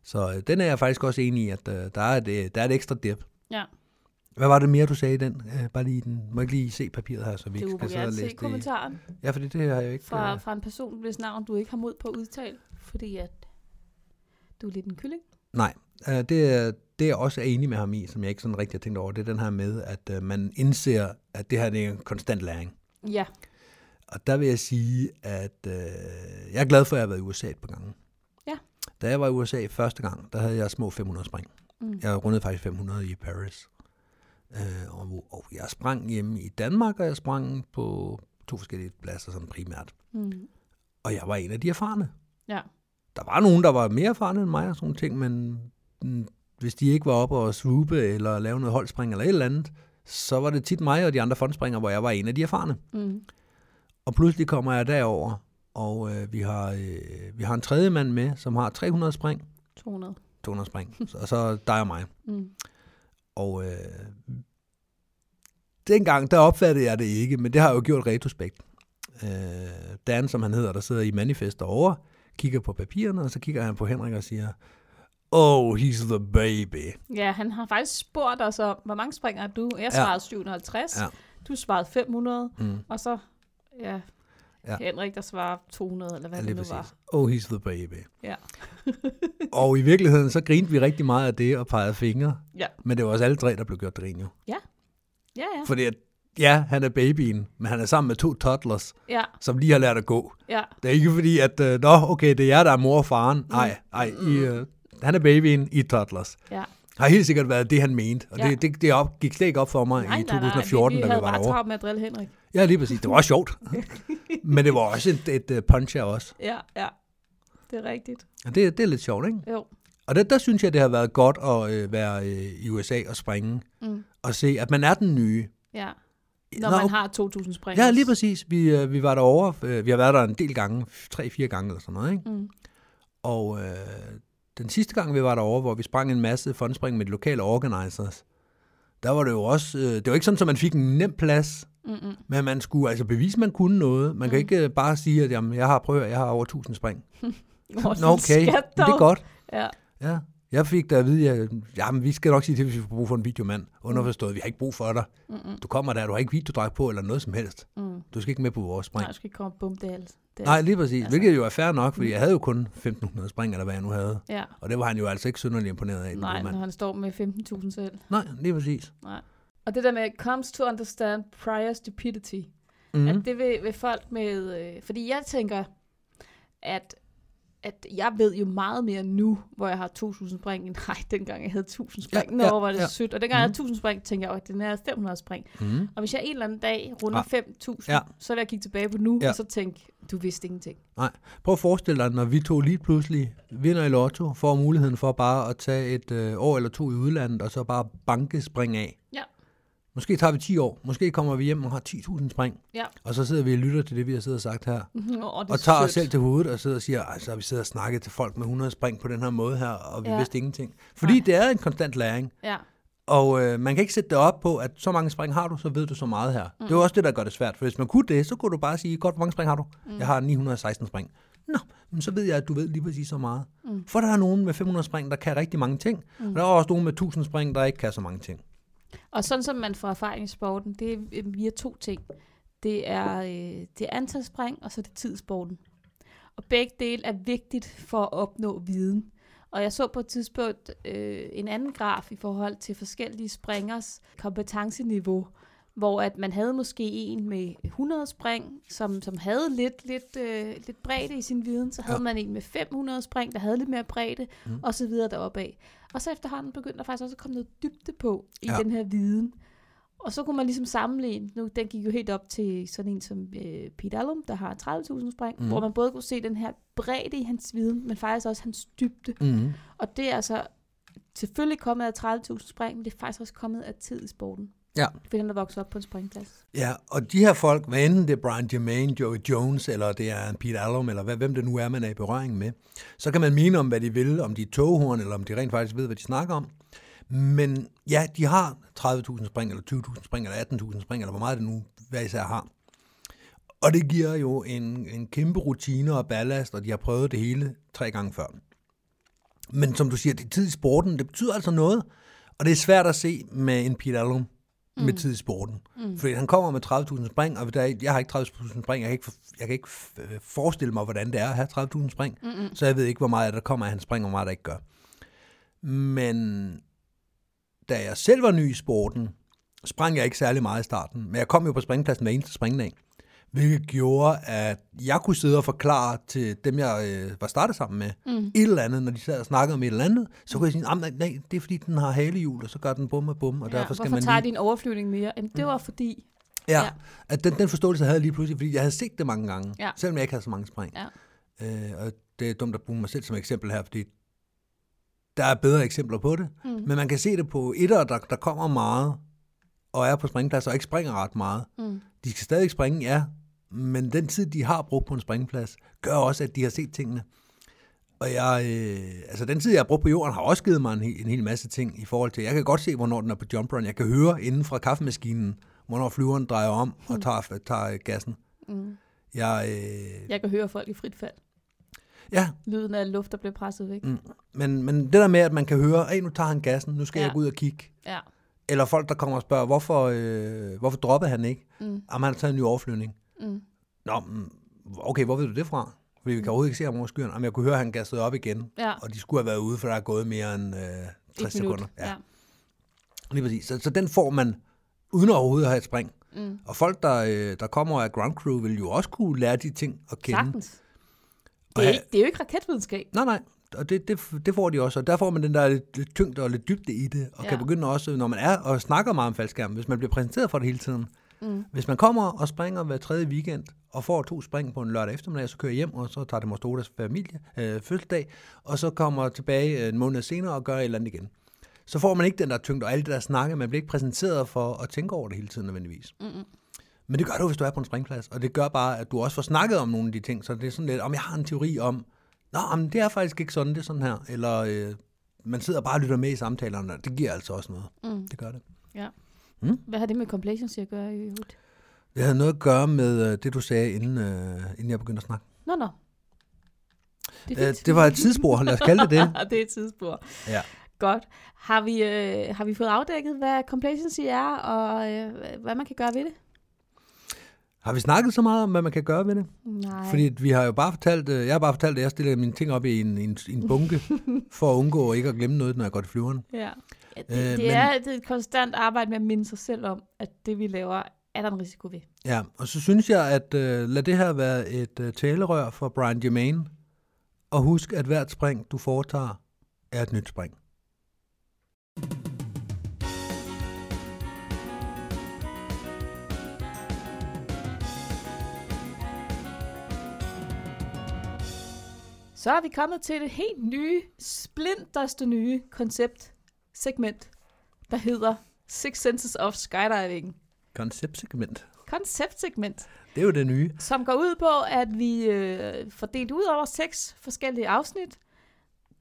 Speaker 1: Så øh, den er jeg faktisk også enig i, at øh, der, er et, øh, der er et ekstra dip.
Speaker 2: Ja,
Speaker 1: Hvad var det mere, du sagde i den? Øh, bare lige i den. Må jeg ikke lige se papiret her, så vi
Speaker 2: det
Speaker 1: ikke
Speaker 2: du
Speaker 1: skal
Speaker 2: må
Speaker 1: sidde
Speaker 2: gerne
Speaker 1: og
Speaker 2: se
Speaker 1: læse det? i?
Speaker 2: kommentaren
Speaker 1: Ja, fordi det har jeg jo ikke...
Speaker 2: fra,
Speaker 1: øh,
Speaker 2: fra en person, hvis navn du ikke har mod på at udtale, fordi at du er lidt en kylling.
Speaker 1: Nej, øh, det, er- det jeg også er enig med ham i, som jeg ikke sådan rigtig har tænkt over, det er den her med, at øh, man indser, at det her det er en konstant læring.
Speaker 2: Ja,
Speaker 1: Og der vil jeg sige, at øh, jeg er glad for, at jeg har været i USA et par gange.
Speaker 2: Ja.
Speaker 1: Da jeg var i USA første gang, der havde jeg små 500 spring.
Speaker 2: Mm.
Speaker 1: Mm. Jeg rundede faktisk 500 i Paris. Øh, og, og jeg sprang hjemme i Danmark, og jeg sprang på to forskellige pladser sådan primært.
Speaker 2: mm.
Speaker 1: Og jeg var en af de erfarne.
Speaker 2: ja.
Speaker 1: Der var nogen, der var mere erfarne end mig og sådan nogle ting, men mm, hvis de ikke var oppe og swoope eller lave noget holdspring eller et eller andet, så var det tit mig og de andre fondspringere, hvor jeg var en af de erfarne.
Speaker 2: Mm.
Speaker 1: Og pludselig kommer jeg derover, og øh, vi, har, øh, vi har en tredje mand med, som har 300 spring,
Speaker 2: 200.
Speaker 1: 200 spring, og så dig og mig.
Speaker 2: Mm.
Speaker 1: Og øh, dengang, der opfattede jeg det ikke, men det har jeg jo gjort retrospekt. Øh, Dan, som han hedder, der sidder i manifest derovre, kigger på papirerne, og så kigger han på Henrik og siger, Oh, he's the baby.
Speaker 2: Ja, han har faktisk spurgt os om, hvor mange springer har du? Jeg
Speaker 1: Ja.
Speaker 2: svarede 750,
Speaker 1: Ja.
Speaker 2: du svarede 500,
Speaker 1: Mm.
Speaker 2: og så ja,
Speaker 1: Ja.
Speaker 2: ja. Henrik, der svarede 200, eller hvad
Speaker 1: Ja,
Speaker 2: det
Speaker 1: lige
Speaker 2: nu
Speaker 1: præcis.
Speaker 2: var.
Speaker 1: Oh, he's the baby.
Speaker 2: Ja.
Speaker 1: og i virkeligheden, så grinte vi rigtig meget af det og pegede fingre.
Speaker 2: Ja.
Speaker 1: Men det var også alle tre, der blev gjort grin jo.
Speaker 2: Ja, ja,
Speaker 1: Fordi at, ja, han er babyen, men han er sammen med to toddlers,
Speaker 2: ja,
Speaker 1: som lige har lært at gå.
Speaker 2: ja.
Speaker 1: Det er ikke fordi, at, øh, nå, okay, det er jer, der er mor og faren.
Speaker 2: Mm.
Speaker 1: Nej, nej, I, øh, han er babyen, I er toddlers.
Speaker 2: ja.
Speaker 1: Har helt sikkert været det, han mente. Og
Speaker 2: Ja.
Speaker 1: det, det, det op, gik slet ikke op for mig i 2014,
Speaker 2: vi,
Speaker 1: da vi var
Speaker 2: havde bare
Speaker 1: derovre.
Speaker 2: travlt med at drille Henrik.
Speaker 1: Ja, lige præcis. Det var også sjovt. men det var også et, et øh, punch af os.
Speaker 2: Ja, ja. Det er rigtigt.
Speaker 1: Og det, det er lidt sjovt, ikke?
Speaker 2: Jo.
Speaker 1: Og der, der synes jeg, det har været godt at øh, være øh, i USA og springe.
Speaker 2: Mm.
Speaker 1: Og se, at man er den nye.
Speaker 2: Ja. Når
Speaker 1: Nå,
Speaker 2: man har 2.000 springer.
Speaker 1: Ja, lige præcis. Vi, øh, vi var derovre. Øh, vi har været der en del gange. Tre-fire gange eller sådan noget, ikke?
Speaker 2: Mm.
Speaker 1: Og øh, den sidste gang, vi var derovre, hvor vi sprang en masse fondspring med de lokale organizers, der var det jo også... Øh, det var ikke sådan, at man fik en nem plads,
Speaker 2: Mm-mm.
Speaker 1: men man skulle altså bevise, at man kunne noget. Man kan
Speaker 2: Mm.
Speaker 1: ikke øh, bare sige, at jamen, jeg har prøvet, jeg har over 1000 spring.
Speaker 2: Hvor
Speaker 1: Nå, okay,
Speaker 2: Skat,
Speaker 1: men det er godt.
Speaker 2: Ja.
Speaker 1: Ja. Jeg fik da at vide, at jamen, vi skal nok sige til, hvis vi får brug for en videomand. Underforstået, vi har ikke brug for dig.
Speaker 2: Mm-mm.
Speaker 1: Du kommer der, du har ikke videodræk på eller noget som helst.
Speaker 2: Mm.
Speaker 1: Du skal ikke med på vores spring.
Speaker 2: Nej, du skal ikke komme og bombe det alt. Det
Speaker 1: Nej, lige præcis.
Speaker 2: Altså.
Speaker 1: Altså. Hvilket jo er fair nok, fordi jeg havde jo kun 1500 spring, eller hvad jeg nu havde.
Speaker 2: Ja.
Speaker 1: Og det var han jo altså ikke synderligt imponeret af. den
Speaker 2: Nej,
Speaker 1: gode mand.
Speaker 2: når han står med 15.000 selv.
Speaker 1: Nej, lige præcis.
Speaker 2: Nej. Og det der med, comes to understand prior stupidity.
Speaker 1: Mm.
Speaker 2: Mm. At det vil, vil folk med... Øh, fordi jeg tænker, at, at jeg ved jo meget mere nu, hvor jeg har 2.000 spring, end nej, dengang jeg havde 1.000 spring.
Speaker 1: Ja,
Speaker 2: Ja, Nå,
Speaker 1: ja,
Speaker 2: var det
Speaker 1: ja.
Speaker 2: ja. sødt. Og dengang mm. jeg
Speaker 1: Mhm.
Speaker 2: havde 1.000 spring, tænkte jeg, at den er 500 spring.
Speaker 1: Mm.
Speaker 2: Og hvis jeg en eller anden dag runder ja. 5.000,
Speaker 1: Ah. Ja.
Speaker 2: ja. så vil jeg kigge tilbage på nu,
Speaker 1: Ja.
Speaker 2: ja. og så tænke, du vidste ingenting.
Speaker 1: Prøv at forestille dig, når vi to lige pludselig vinder i lotto, får muligheden for bare at tage et øh, år eller to i udlandet, og så bare banke spring af.
Speaker 2: Ja.
Speaker 1: Måske tager vi 10 år. Måske kommer vi hjem og har 10.000 spring.
Speaker 2: Ja.
Speaker 1: Og så sidder vi og lytter til det, vi har siddet og sagt her.
Speaker 2: Nå, det er
Speaker 1: Og tager os
Speaker 2: sødt.
Speaker 1: selv til hovedet og sidder og siger, altså vi sidder og snakker til folk med 100 spring på den her måde her, og vi ja.
Speaker 2: Ja.
Speaker 1: vidste ingenting. Fordi
Speaker 2: Nej.
Speaker 1: det er en konstant læring.
Speaker 2: Ja,
Speaker 1: Og øh, man kan ikke sætte det op på, at så mange spring har du, så ved du så meget her. Mm. Det er jo også det, der gør det svært. For hvis man kunne det, så kunne du bare sige, godt, hvor mange spring har du? Mm. Jeg har 916 spring. Nå, men så ved jeg, at du ved lige præcis så meget. Mm. For der er nogen med 500 spring, der kan rigtig mange ting. Mm. Og der er også nogen med 1000 spring, der ikke kan så mange ting.
Speaker 2: og sådan som man får erfaring i sporten, det er øh, via to ting. Det er, øh, det er antalspring, og så er det tidssporten. Og begge dele er vigtigt for at opnå viden. Og jeg så på et tidspunkt øh, en anden graf i forhold til forskellige springers kompetenceniveau, hvor at man havde måske en med 100 spring, som, som havde lidt, lidt, øh, lidt bredde i sin viden. Så havde
Speaker 1: Ja. Mhm.
Speaker 2: ja. man en med 500 spring, der havde lidt mere bredde, mm. og så videre deropad. Og så efterhånden begyndte der faktisk også at komme noget dybde på i
Speaker 1: Ja.
Speaker 2: ja. den her viden. Og så kunne man ligesom sammenligne, nu den gik jo helt op til sådan en som øh, Pete Allum, der har 30.000 spring,
Speaker 1: Mhm.
Speaker 2: mm. hvor man både kunne se den her bredde i hans viden, men faktisk også hans dybde.
Speaker 1: Mm.
Speaker 2: Og det er altså selvfølgelig kommet af 30.000 spring, men det er faktisk også kommet af tid i sporten.
Speaker 1: Ja.
Speaker 2: Kvinder, der vokser op på en springplads.
Speaker 1: Ja, og de her folk, hvad enten det er Brian Germain, Joey Jones, eller det er Pete Allum, eller hvad, hvem det nu er, man er i berøring med, så kan man mene om, hvad de vil, om de er toghorn, eller om de rent faktisk ved, hvad de snakker om. Men ja, de har 30.000 spring, eller 20.000 spring, eller 18.000 spring, eller hvor meget det nu hver især har. Og det giver jo en, en kæmpe rutine og ballast, og de har prøvet det hele tre gange før. Men som du siger, det tid i sporten, det betyder altså noget. Og det er svært at se med en Pete Allum med tid i sporten. Mm. Fordi han kommer med 30.000 spring, og der, jeg har ikke 30.000 spring, jeg kan ikke, for- jeg kan ikke øh, forestille mig, hvordan det er at have 30.000 spring. Mm-mm. Så jeg ved ikke, hvor meget der kommer af hans spring, og hvor meget der ikke gør. Men da jeg selv var ny i sporten, sprang jeg ikke særlig meget i starten. Men jeg kom jo på springpladsen hver eneste springdag. Hvilket gjorde, at jeg kunne sidde og forklare til dem, jeg øh, var startet sammen med, mm. et eller andet, når de sad og snakkede om et eller andet. Så kunne jeg sige, "Ah, nej, nej, det er fordi, den har halehjul, og så gør den bum og bum, og ja, derfor skal
Speaker 2: hvorfor
Speaker 1: man lige...
Speaker 2: tager
Speaker 1: Mm.
Speaker 2: de en overflyvning mere? Jamen, det var fordi...
Speaker 1: Ja,
Speaker 2: Ja.
Speaker 1: ja. at den, den forståelse havde jeg lige pludselig, fordi jeg havde set det mange gange,
Speaker 2: Ja.
Speaker 1: ja. selvom jeg ikke havde så mange spring.
Speaker 2: Ja.
Speaker 1: Øh, og det er dumt at bruge mig selv som eksempel her, fordi der er bedre eksempler på det. Mm. Men man kan se det på etter, der, der kommer meget, og er på springplads, og ikke springer ret meget. Mm. De skal stadig springe, ja, men den tid, de har brugt på en springplads, gør også, at de har set tingene. Og jeg, øh, altså den tid, jeg har brugt på jorden, har også givet mig en, hel- en hel masse ting i forhold til, jeg kan godt se, hvornår den er på jump run. Jeg kan høre inden fra kaffemaskinen, hvornår flyveren drejer om og tager, tager øh, gassen.
Speaker 2: Hmm. Mm.
Speaker 1: Jeg, øh,
Speaker 2: Jeg kan høre folk i frit fald.
Speaker 1: ja,
Speaker 2: Lyden af luft, der bliver presset væk. Mm.
Speaker 1: mm, men, men det der med, at man kan høre, at nu tager han gassen, nu skal
Speaker 2: Ja.
Speaker 1: ja. jeg gå ud og kigge.
Speaker 2: Ja.
Speaker 1: Eller folk, der kommer og spørger, hvorfor, øh, hvorfor droppede han ikke? Mm. Jamen, han har taget en ny overflyvning.
Speaker 2: Mm.
Speaker 1: Nå, mm, okay, hvor ved du det fra? Fordi vi kan overhovedet ikke se ham over skyerne. Jamen, jeg kunne høre, at han gassede op igen.
Speaker 2: Ja.
Speaker 1: Og de skulle have været ude, for der er gået mere end øh, 60
Speaker 2: Et minut.
Speaker 1: sekunder.
Speaker 2: Ja.
Speaker 1: Lige præcis. Så, så den får man uden overhovedet at have et spring. Mm. Og folk, der, øh, der kommer af ground crew, vil jo også kunne lære de ting at kende.
Speaker 2: Sagtens. Det
Speaker 1: Og
Speaker 2: er,
Speaker 1: ha-
Speaker 2: ikke, det er jo ikke raketvidenskab.
Speaker 1: Nej, nej. Og det, det, det får de også, og der får man den der lidt, lidt tyngde og lidt dybde i det, og
Speaker 2: Ja.
Speaker 1: ja. kan begynde også, når man er og snakker meget om faldskærm, hvis man bliver præsenteret for det hele tiden. Mm. Hvis man kommer og springer hver tredje weekend, og får to spring på en lørdag eftermiddag, så kører jeg hjem, og så tager det Mostodas familie øh, fødselsdag, og så kommer tilbage øh, en måned senere og gør et eller andet igen. Så får man ikke den der tyngde og alt det der snakke, man bliver ikke præsenteret for at tænke over det hele tiden nødvendigvis. Men det gør du, hvis du er på en springplads, og det gør bare, at du også får snakket om nogle af de ting, så det er sådan lidt, om jeg har en teori om, nå, men det er faktisk ikke sådan, det er sådan her, eller øh, man sidder bare og lytter med i samtalerne, og det giver altså også noget.
Speaker 2: Mm.
Speaker 1: Det gør det.
Speaker 2: Ja.
Speaker 1: Mm.
Speaker 2: Hvad har det med complacency at gøre i øvrigt?
Speaker 1: Det havde noget at gøre med øh, det, du sagde, inden, øh, inden jeg begyndte at snakke.
Speaker 2: Nå, nå. Det er
Speaker 1: Øh,
Speaker 2: fint.
Speaker 1: det var et tidsspor, lad os kalde det det.
Speaker 2: det er et tidsspor.
Speaker 1: Ja.
Speaker 2: Godt. Har vi, øh, har vi fået afdækket, hvad complacency er, og øh, hvad man kan gøre ved det?
Speaker 1: Har vi snakket så meget om, hvad man kan gøre ved det?
Speaker 2: Nej.
Speaker 1: Fordi at vi har jo bare fortalt, øh, jeg har bare fortalt, at jeg stiller mine ting op i en, en, en bunke, for at undgå ikke at glemme noget, når jeg går til flyveren.
Speaker 2: Ja. Ja, Det,
Speaker 1: Øh,
Speaker 2: det,
Speaker 1: men-
Speaker 2: er, det er et konstant arbejde med at minde sig selv om, at det vi laver, er der en risiko ved.
Speaker 1: Ja, og så synes jeg, at øh, lad det her være et øh, talerør for Brian Germain. Og husk, at hvert spring, du foretager, er et nyt spring.
Speaker 2: Så er vi kommet til det helt nye, splinterste nye koncept, segment, der hedder Six Senses of Skydiving.
Speaker 1: Konceptsegment.
Speaker 2: Konceptsegment.
Speaker 1: Det er jo det nye.
Speaker 2: som går ud på, at vi øh, fordelt ud over seks forskellige afsnit,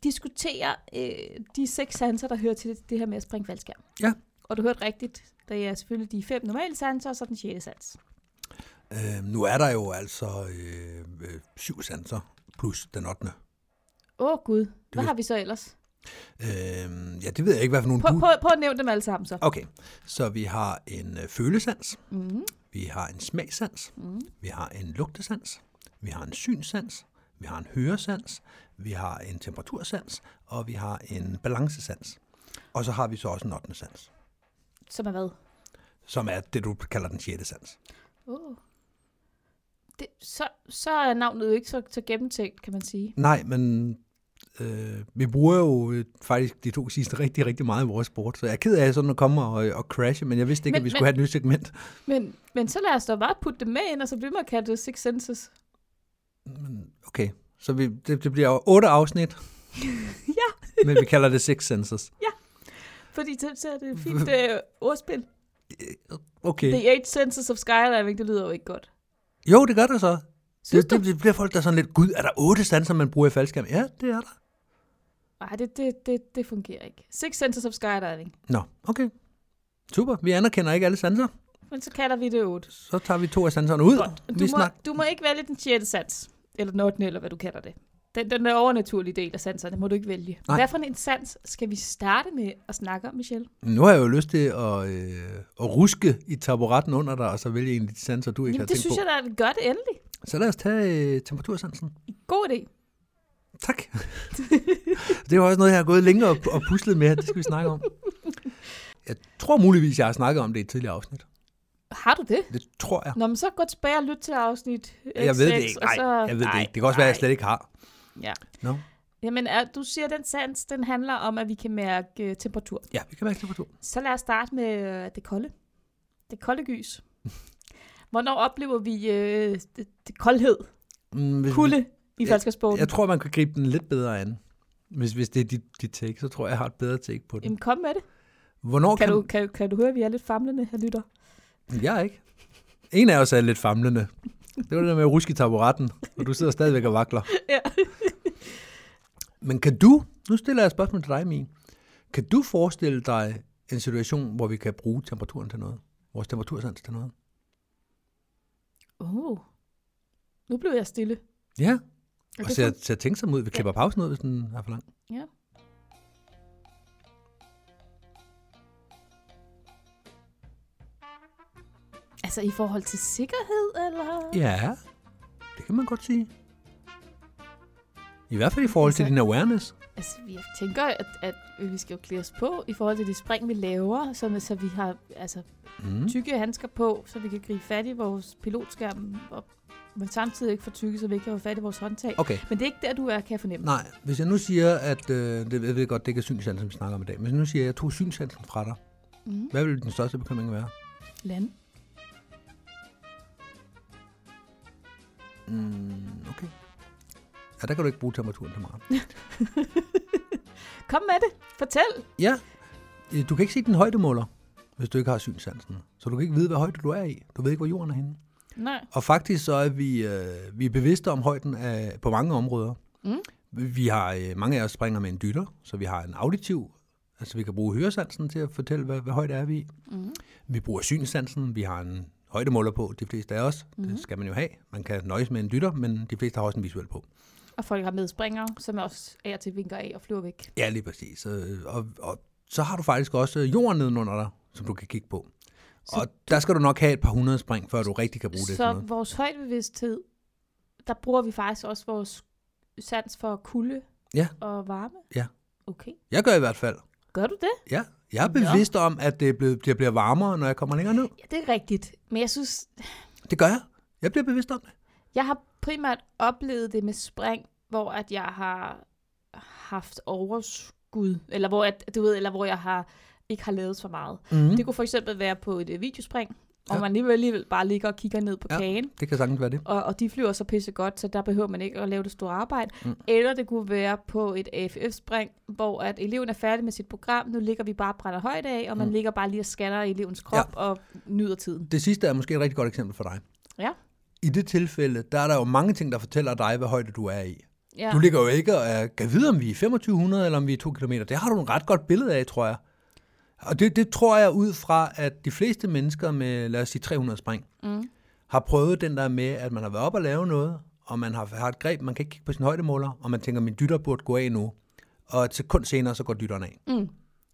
Speaker 2: diskuterer øh, de seks sanser, der hører til det, det her med at springe faldskærm.
Speaker 1: Ja.
Speaker 2: Og du hørte rigtigt, det er selvfølgelig de fem normale sanser, og så den sjette sans.
Speaker 1: Øh, nu er der jo altså øh, øh, syv sanser plus den 8.
Speaker 2: Åh oh, gud, hvad
Speaker 1: vil-
Speaker 2: har vi så ellers?
Speaker 1: Øh, ja, det ved jeg ikke, hvad for nogle
Speaker 2: Prøv,
Speaker 1: du...
Speaker 2: prøv, prøv at nævne dem alle sammen så.
Speaker 1: Okay, så vi har en øh, følesans,
Speaker 2: Mm,
Speaker 1: vi har en smagsans,
Speaker 2: mm,
Speaker 1: vi har en lugtesans, vi har en synsans, vi har en høresans, vi har en temperatursans, og vi har en balancesans. Og så har vi så også en 8. sans,
Speaker 2: som er hvad?
Speaker 1: som er det, du kalder den 6. sans.
Speaker 2: Oh. Det, så, så er navnet jo ikke så, så gennemtænkt, kan man sige.
Speaker 1: Nej, men øh, vi bruger jo øh, faktisk de to sidste rigtig, rigtig meget i vores sport, så jeg er ked af sådan at komme og, og crashe, men jeg vidste ikke, men,
Speaker 2: Men-
Speaker 1: at vi
Speaker 2: men-
Speaker 1: skulle have et nyt segment.
Speaker 2: Men, men så lad os da bare putte dem med ind, og så bliver man kaldt det Six Senses.
Speaker 1: Men, okay, så vi, det, det bliver jo otte afsnit,
Speaker 2: ja,
Speaker 1: men vi kalder det Six Senses.
Speaker 2: Fordi så så er det et fint øh, ordspil.
Speaker 1: Okay.
Speaker 2: The Eight Senses of Skydiving, det lyder jo ikke godt.
Speaker 1: Jo, det gør der så.
Speaker 2: Synes
Speaker 1: Det,
Speaker 2: det, du?
Speaker 1: det, det bliver folk, der er sådan lidt, gud, er der otte sanser, man bruger i faldskærm? Ja, det er der.
Speaker 2: Nej, det, det, det, det fungerer ikke. Six Senses of Skydiving.
Speaker 1: Nå, okay. Super, vi anerkender ikke alle sanser.
Speaker 2: Men så kalder vi det otte.
Speaker 1: Så tager vi to af sanserne ud.
Speaker 2: Du,
Speaker 1: vi
Speaker 2: må,
Speaker 1: snak-
Speaker 2: du må ikke vælge den sjette sans, eller den 8. eller hvad du kalder det. Den, den der overnaturlige del af sanserne må du ikke vælge.
Speaker 1: Nej.
Speaker 2: Nej. Hvad for en sans skal vi starte med at snakke om, Michelle?
Speaker 1: Nu har jeg jo lyst til at, øh, at ruske i taburetten under dig, og så vælge en af de sanser, du ikke
Speaker 2: Jamen,
Speaker 1: har
Speaker 2: det
Speaker 1: tænkt
Speaker 2: synes
Speaker 1: på.
Speaker 2: jeg da, at vi gør det endelig.
Speaker 1: Så lad os tage øh, temperatursansen.
Speaker 2: God idé.
Speaker 1: Tak. det er jo også noget, jeg har gået længere og, og puslet med, det skal vi snakke om. Jeg tror muligvis, jeg har snakket om det i et tidligere afsnit.
Speaker 2: Har du det?
Speaker 1: Det tror jeg.
Speaker 2: Nå, men så gå tilbage og lyt til afsnit
Speaker 1: Jeg ved det
Speaker 2: X6,
Speaker 1: ikke.
Speaker 2: og
Speaker 1: Nej,
Speaker 2: så...
Speaker 1: jeg ved det ikke. Det kan også være, at jeg slet ikke har.
Speaker 2: Ja.
Speaker 1: Nå.
Speaker 2: Jamen, er, du siger, at den sans, den handler om, at vi kan mærke øh, temperatur.
Speaker 1: Ja, vi kan mærke temperatur.
Speaker 2: Så lad os starte med øh, det kolde. Det kolde gys. Hvornår oplever vi øh, det, det koldhed,
Speaker 1: Mm, hvis vi-
Speaker 2: kulde i
Speaker 1: Ja,
Speaker 2: falskersporten?
Speaker 1: Jeg tror, man kan gribe den lidt bedre an. Hvis, hvis det er dit, dit take, så tror jeg, jeg har et bedre take på den.
Speaker 2: Jamen, kom med det.
Speaker 1: Hvornår
Speaker 2: Kan
Speaker 1: kan,
Speaker 2: du, kan, kan du høre, at vi er lidt famlende her, lytter?
Speaker 1: Jeg er ikke. En af os er lidt famlende. Det var det der med at ruske i taburetten, og du sidder stadigvæk og vakler.
Speaker 2: Ja.
Speaker 1: Men kan du, nu stiller jeg et spørgsmål til dig, Mie. Kan du forestille dig en situation, hvor vi kan bruge temperaturen til noget? Vores temperatursans til noget?
Speaker 2: Oh. Nu blev jeg stille.
Speaker 1: Ja,
Speaker 2: Er
Speaker 1: og
Speaker 2: det
Speaker 1: så jeg,
Speaker 2: kun-
Speaker 1: så jeg tænker ud. Vi klipper pausen ud, hvis den er for lang.
Speaker 2: Ja. Altså i forhold til sikkerhed, eller?
Speaker 1: Ja, det kan man godt sige. I hvert fald i forhold til
Speaker 2: Altså-
Speaker 1: din awareness.
Speaker 2: Altså, jeg tænker, at, at vi skal jo klæde os på i forhold til de spring, vi laver, så, så vi har altså,
Speaker 1: Mm.
Speaker 2: tykke handsker på, så vi kan gribe fat i vores pilotskærm, og, men samtidig ikke for tykke, så vi ikke kan få fat i vores håndtag.
Speaker 1: Okay,
Speaker 2: Men det er ikke der, du er, kan jeg fornemme.
Speaker 1: nej. Hvis jeg nu siger, at... Øh, det, jeg ved godt, det ikke er synsansen, vi snakker om i dag. Men hvis jeg nu siger, at jeg tog synsansen fra dig.
Speaker 2: Mm.
Speaker 1: Hvad ville den største bekymring være?
Speaker 2: Land.
Speaker 1: Mm, okay. Ja, der kan du ikke bruge temperaturen til meget.
Speaker 2: Kom med det. Fortæl.
Speaker 1: Ja, øh, du kan ikke se din højdemåler, hvis du ikke har synsansen. Så du kan ikke vide, hvad højde du er i. Du ved ikke, hvor jorden er henne.
Speaker 2: Nej.
Speaker 1: Og faktisk så er vi, øh, vi er bevidste om højden af, på mange områder.
Speaker 2: Mm.
Speaker 1: Vi har, øh, mange af os springer med en dytter, så vi har en auditiv, altså vi kan bruge høresansen til at fortælle, hvad, hvad højde er vi i.
Speaker 2: Mm.
Speaker 1: Vi bruger synsansen, vi har en højdemåler på, de fleste af os. Mm. Det skal man jo have. Man kan nøjes med en dytter, men de fleste har også en visuel på.
Speaker 2: Og folk har medspringere, som også af og til vinker af og flyver væk.
Speaker 1: Ja, lige præcis. Øh, Og, og så har du faktisk også øh, jorden nedenunder dig, som du kan kigge på.
Speaker 2: Så
Speaker 1: og der skal du nok have et par hundrede spring, før du rigtig kan bruge det. til
Speaker 2: Så
Speaker 1: noget.
Speaker 2: vores højdebevidsthed, der bruger vi faktisk også vores sans for kulde
Speaker 1: Ja.
Speaker 2: og varme.
Speaker 1: Ja.
Speaker 2: Okay.
Speaker 1: Jeg gør i hvert fald.
Speaker 2: Gør du det?
Speaker 1: Ja, jeg er bevidst om, at det bliver, det bliver varmere, når jeg kommer længere ned.
Speaker 2: Ja, det er rigtigt. Men jeg synes,
Speaker 1: Det gør jeg. Jeg bliver bevidst om det.
Speaker 2: jeg har primært oplevet det med spring, hvor at jeg har haft overskud, eller hvor, at, du ved, eller hvor jeg har ikke har lavet for meget.
Speaker 1: Mm.
Speaker 2: Det kunne for eksempel være på et øh, videospring, og
Speaker 1: Ja.
Speaker 2: man alligevel, alligevel bare ligger og kigger ned på
Speaker 1: Ja.
Speaker 2: ja. kagen.
Speaker 1: Det kan sagtens være det.
Speaker 2: og, og de flyver så pisse godt, så der behøver man ikke at lave det store arbejde.
Speaker 1: Mm.
Speaker 2: Mm. Eller det kunne være på et AFF-spring, hvor at eleven er færdig med sit program, nu ligger vi bare og brænder højt af, og man
Speaker 1: Mm.
Speaker 2: mm. ligger bare lige og scanner elevens krop ja. og nyder tiden.
Speaker 1: Det sidste er måske et rigtig godt eksempel for dig.
Speaker 2: Ja.
Speaker 1: I det tilfælde, der er der jo mange ting, der fortæller dig, hvad højde du er i.
Speaker 2: Ja.
Speaker 1: Du ligger jo ikke og er, kan vide, om vi er 2500 eller om vi er 2 km. Det har du en ret godt billede af, tror jeg. Og det, det tror jeg ud fra, at de fleste mennesker med, lad os sige 300 spring,
Speaker 2: Mm.
Speaker 1: har prøvet den der med, at man har været op og lave noget, og man har, har et greb, man kan ikke kigge på sin højdemåler, og man tænker, min dytter burde gå af nu. Og et sekund senere, så går dytteren af.
Speaker 2: Mm.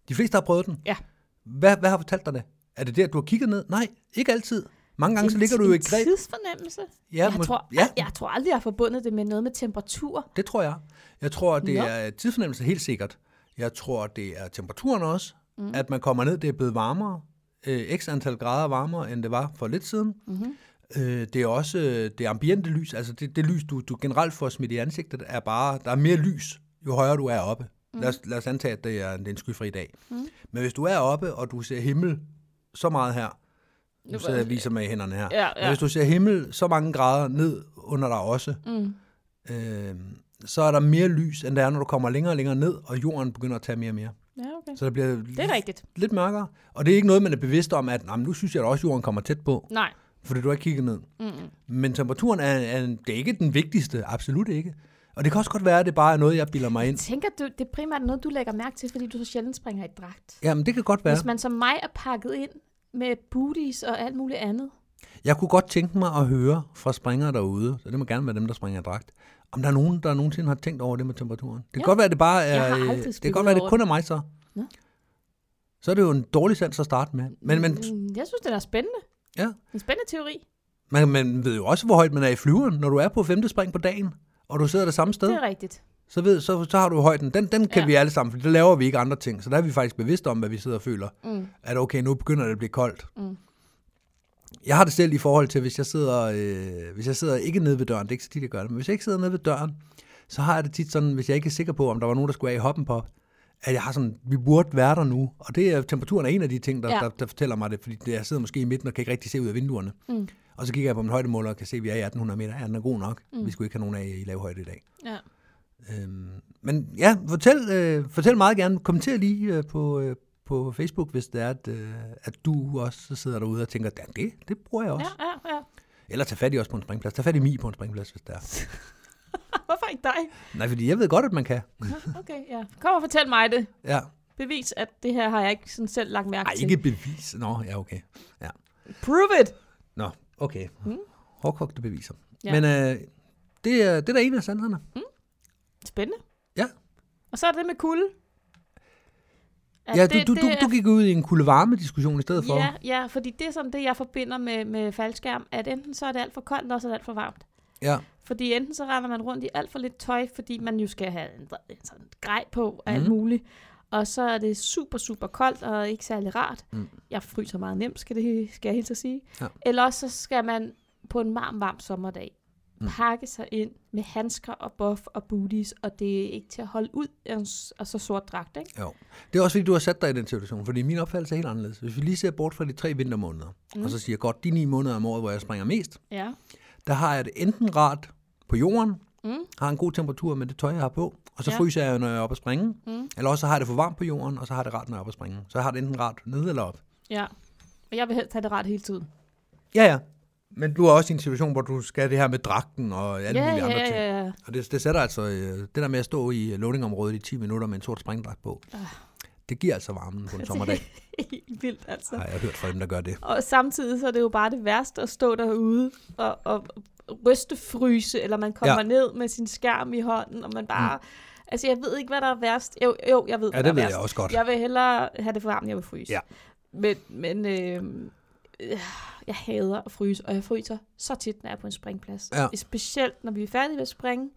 Speaker 1: De fleste har prøvet den.
Speaker 2: Ja.
Speaker 1: Hvad, hvad har fortalt dig det? Er det der, du har kigget ned? Nej, ikke altid. Mange gange, så ligger du jo i et greb.
Speaker 2: tidsfornemmelse.
Speaker 1: Ja,
Speaker 2: jeg,
Speaker 1: må-
Speaker 2: tror,
Speaker 1: ja,
Speaker 2: jeg tror aldrig, jeg har forbundet det med noget med temperatur.
Speaker 1: Det tror jeg. Jeg tror, det
Speaker 2: Nå.
Speaker 1: er tidsfornemmelse helt sikkert. Jeg tror, det er temperaturen også. Mm. At man kommer ned, det er blevet varmere. Øh, x antal grader varmere, end det var for lidt siden.
Speaker 2: Mhm.
Speaker 1: Øh, det er også øh, det ambiente lys. Altså det, det lys, du, du generelt får smidt i ansigtet, er bare, der er mere lys, jo højere du er oppe. Mm. Lad, os, lad os antage, at det er, en- det er en skyfri dag. Mm. Men hvis du er oppe, og du ser himmel så meget her, nu
Speaker 2: Nu
Speaker 1: sidder
Speaker 2: var-
Speaker 1: jeg og viser med hænderne her.
Speaker 2: Ja,
Speaker 1: Men
Speaker 2: ja.
Speaker 1: hvis du ser himmel så mange grader ned under dig også,
Speaker 2: Mm.
Speaker 1: øh, så er der mere lys, end der er, når du kommer længere og længere ned, og jorden begynder at tage mere og mere.
Speaker 2: Ja, Okay.
Speaker 1: Så der bliver
Speaker 2: Det er rigtigt.
Speaker 1: lidt mørkere. Og det er ikke noget, man er bevidst om, at "Nå, men nu synes jeg da også, at jorden kommer tæt på,
Speaker 2: Nej.
Speaker 1: fordi du har ikke kigget ned.
Speaker 2: Mm-mm.
Speaker 1: Men temperaturen er, er, det er ikke den vigtigste, absolut ikke. Og det kan også godt være, at det bare er noget, jeg bilder mig ind.
Speaker 2: Tænker du, det er primært noget, du lægger mærke til, fordi du så sjældent springer i dragt?
Speaker 1: Jamen, det kan godt være.
Speaker 2: Hvis man som mig er pakket ind med booties og alt muligt andet.
Speaker 1: Jeg kunne godt tænke mig at høre fra springere derude, så det må gerne være dem, der springer i dragt, om der er nogen, der nogensinde har tænkt over det med temperaturen. Det kan
Speaker 2: Ja.
Speaker 1: godt være, det bare
Speaker 2: Jeg
Speaker 1: er...
Speaker 2: har
Speaker 1: øh,
Speaker 2: aldrig
Speaker 1: det kan
Speaker 2: spekuleret
Speaker 1: godt være, det
Speaker 2: over
Speaker 1: kun er mig så.
Speaker 2: Nå.
Speaker 1: Så er det jo en dårlig sans at starte med. Men, men,
Speaker 2: Mm, Jeg synes, det er spændende.
Speaker 1: ja,
Speaker 2: En spændende teori.
Speaker 1: man, man ved jo også, hvor højt man er i flyveren, når du er på femte spring på dagen, og du sidder det samme
Speaker 2: Det
Speaker 1: sted.
Speaker 2: er rigtigt.
Speaker 1: så, ved, så, så har du højden. Den, den kan
Speaker 2: Ja.
Speaker 1: ja. vi alle sammen, for det laver vi ikke andre ting. Så der er vi faktisk bevidste om, hvad vi sidder og føler.
Speaker 2: Mm.
Speaker 1: At okay, nu begynder det at blive koldt.
Speaker 2: Mm.
Speaker 1: Jeg har det selv i forhold til, hvis jeg sidder, øh, hvis jeg sidder ikke nede ved døren, det er ikke så tit, jeg gør det, men hvis jeg ikke sidder nede ved døren, så har jeg det tit sådan, hvis jeg ikke er sikker på, om der var nogen, der skulle af i hoppen på, at jeg har sådan, vi burde være der nu. Og det er, temperaturen er en af de ting, der,
Speaker 2: Ja.
Speaker 1: ja. der, der fortæller mig det, fordi jeg sidder måske i midten og kan ikke rigtig se ud af vinduerne.
Speaker 2: Mm.
Speaker 1: Og så kigger jeg på min højdemåler og kan se, at vi er i 1800 meter. Ja, den er god nok. Mm. Vi skulle ikke have nogen af i lav højde i dag.
Speaker 2: Ja.
Speaker 1: Øhm, men ja, fortæl, øh, fortæl meget gerne. Kommenter lige øh, på, øh, på Facebook, hvis det er, at, øh, at du også sidder derude og tænker, ja, det, det bruger jeg også.
Speaker 2: ja, ja, ja.
Speaker 1: Ja. Eller tag fat i os på en springplads. Tag fat i Mi på en springplads, hvis det er.
Speaker 2: Hvorfor ikke dig?
Speaker 1: Nej, fordi jeg ved godt, at man kan.
Speaker 2: Nå, Okay, ja. Kom og fortæl mig det.
Speaker 1: Ja.
Speaker 2: Bevis, at det her har jeg ikke sådan selv lagt mærke
Speaker 1: Ej,
Speaker 2: til.
Speaker 1: ikke bevis. Nå, ja, okay.
Speaker 2: Prove it!
Speaker 1: Nå, okay.
Speaker 2: Mm.
Speaker 1: Hårdkogte beviser.
Speaker 2: Ja.
Speaker 1: Ja. Men øh, det, er, det er da en af sanserne.
Speaker 2: Spændende.
Speaker 1: Ja.
Speaker 2: Og så er det det med kulde.
Speaker 1: Ja, ja du, du, du, du gik ud i en kulde varme diskussion i stedet for.
Speaker 2: Ja, ja, fordi det er sådan det, jeg forbinder med, med faldskærm, at enten så er det alt for koldt, eller også er det alt for varmt.
Speaker 1: ja.
Speaker 2: Fordi enten så render man rundt i alt for lidt tøj, fordi man jo skal have en, en sådan grej på og alt
Speaker 1: Mhm.
Speaker 2: muligt. Og så er det super, super koldt og ikke særlig rart.
Speaker 1: Mm.
Speaker 2: Jeg fryser meget nemt, skal, det, skal jeg helt at sige.
Speaker 1: Ja.
Speaker 2: Eller også så skal man på en varm, varm sommerdag
Speaker 1: Mm.
Speaker 2: pakke sig ind med handsker og buff og booties, og det er ikke til at holde ud, og s- og så sort dragt, ikke?
Speaker 1: Jo. Det er også fordi, du har sat dig i den situation, fordi min opfattelse er helt anderledes. Hvis vi lige ser bort fra de tre vintermåneder,
Speaker 2: Mm.
Speaker 1: mm. og så siger godt, de ni måneder om året, hvor jeg springer mest,
Speaker 2: Ja.
Speaker 1: der har jeg det enten rart på jorden,
Speaker 2: Mm.
Speaker 1: har en god temperatur med det tøj, jeg har på, og så
Speaker 2: Ja.
Speaker 1: ja. fryser jeg, jo, når jeg er oppe at springe.
Speaker 2: Mm.
Speaker 1: Eller også så har jeg det for varmt på jorden, og så har jeg det rart, når jeg er oppe at springe. Så jeg har det enten rart nede eller op.
Speaker 2: Ja. Og jeg vil helst have det ret hele tiden.
Speaker 1: Ja, ja. Men du er også i en situation, hvor du skal det her med dragten og alle
Speaker 2: ja,
Speaker 1: mulige
Speaker 2: ja,
Speaker 1: andre ting.
Speaker 2: ja, ja.
Speaker 1: Og det, det sætter altså, øh, det der med at stå i øh, loadingområdet i 10 minutter med en sort springdragt på,
Speaker 2: Ah.
Speaker 1: det giver altså varmen på en sommerdag,
Speaker 2: Helt vildt, altså.
Speaker 1: har jeg hørt fra dem, der gør det.
Speaker 2: Og samtidig så er det jo bare det værste at stå derude og, og rystefryse, eller man kommer ja.
Speaker 1: Ja.
Speaker 2: ned med sin skærm i hånden, og man bare... Mm. Altså, jeg ved ikke, hvad der er værst. Jo, jo jeg ved,
Speaker 1: Ja,
Speaker 2: hvad
Speaker 1: det
Speaker 2: der
Speaker 1: ved
Speaker 2: er
Speaker 1: jeg
Speaker 2: værst.
Speaker 1: også godt.
Speaker 2: Jeg vil hellere have det for varmt, end jeg vil fryse.
Speaker 1: Ja.
Speaker 2: Men, men øh, øh, jeg hader at fryse, og jeg fryser så tit, når jeg er på en springplads.
Speaker 1: Ja.
Speaker 2: Specielt, når vi er færdige med at springe,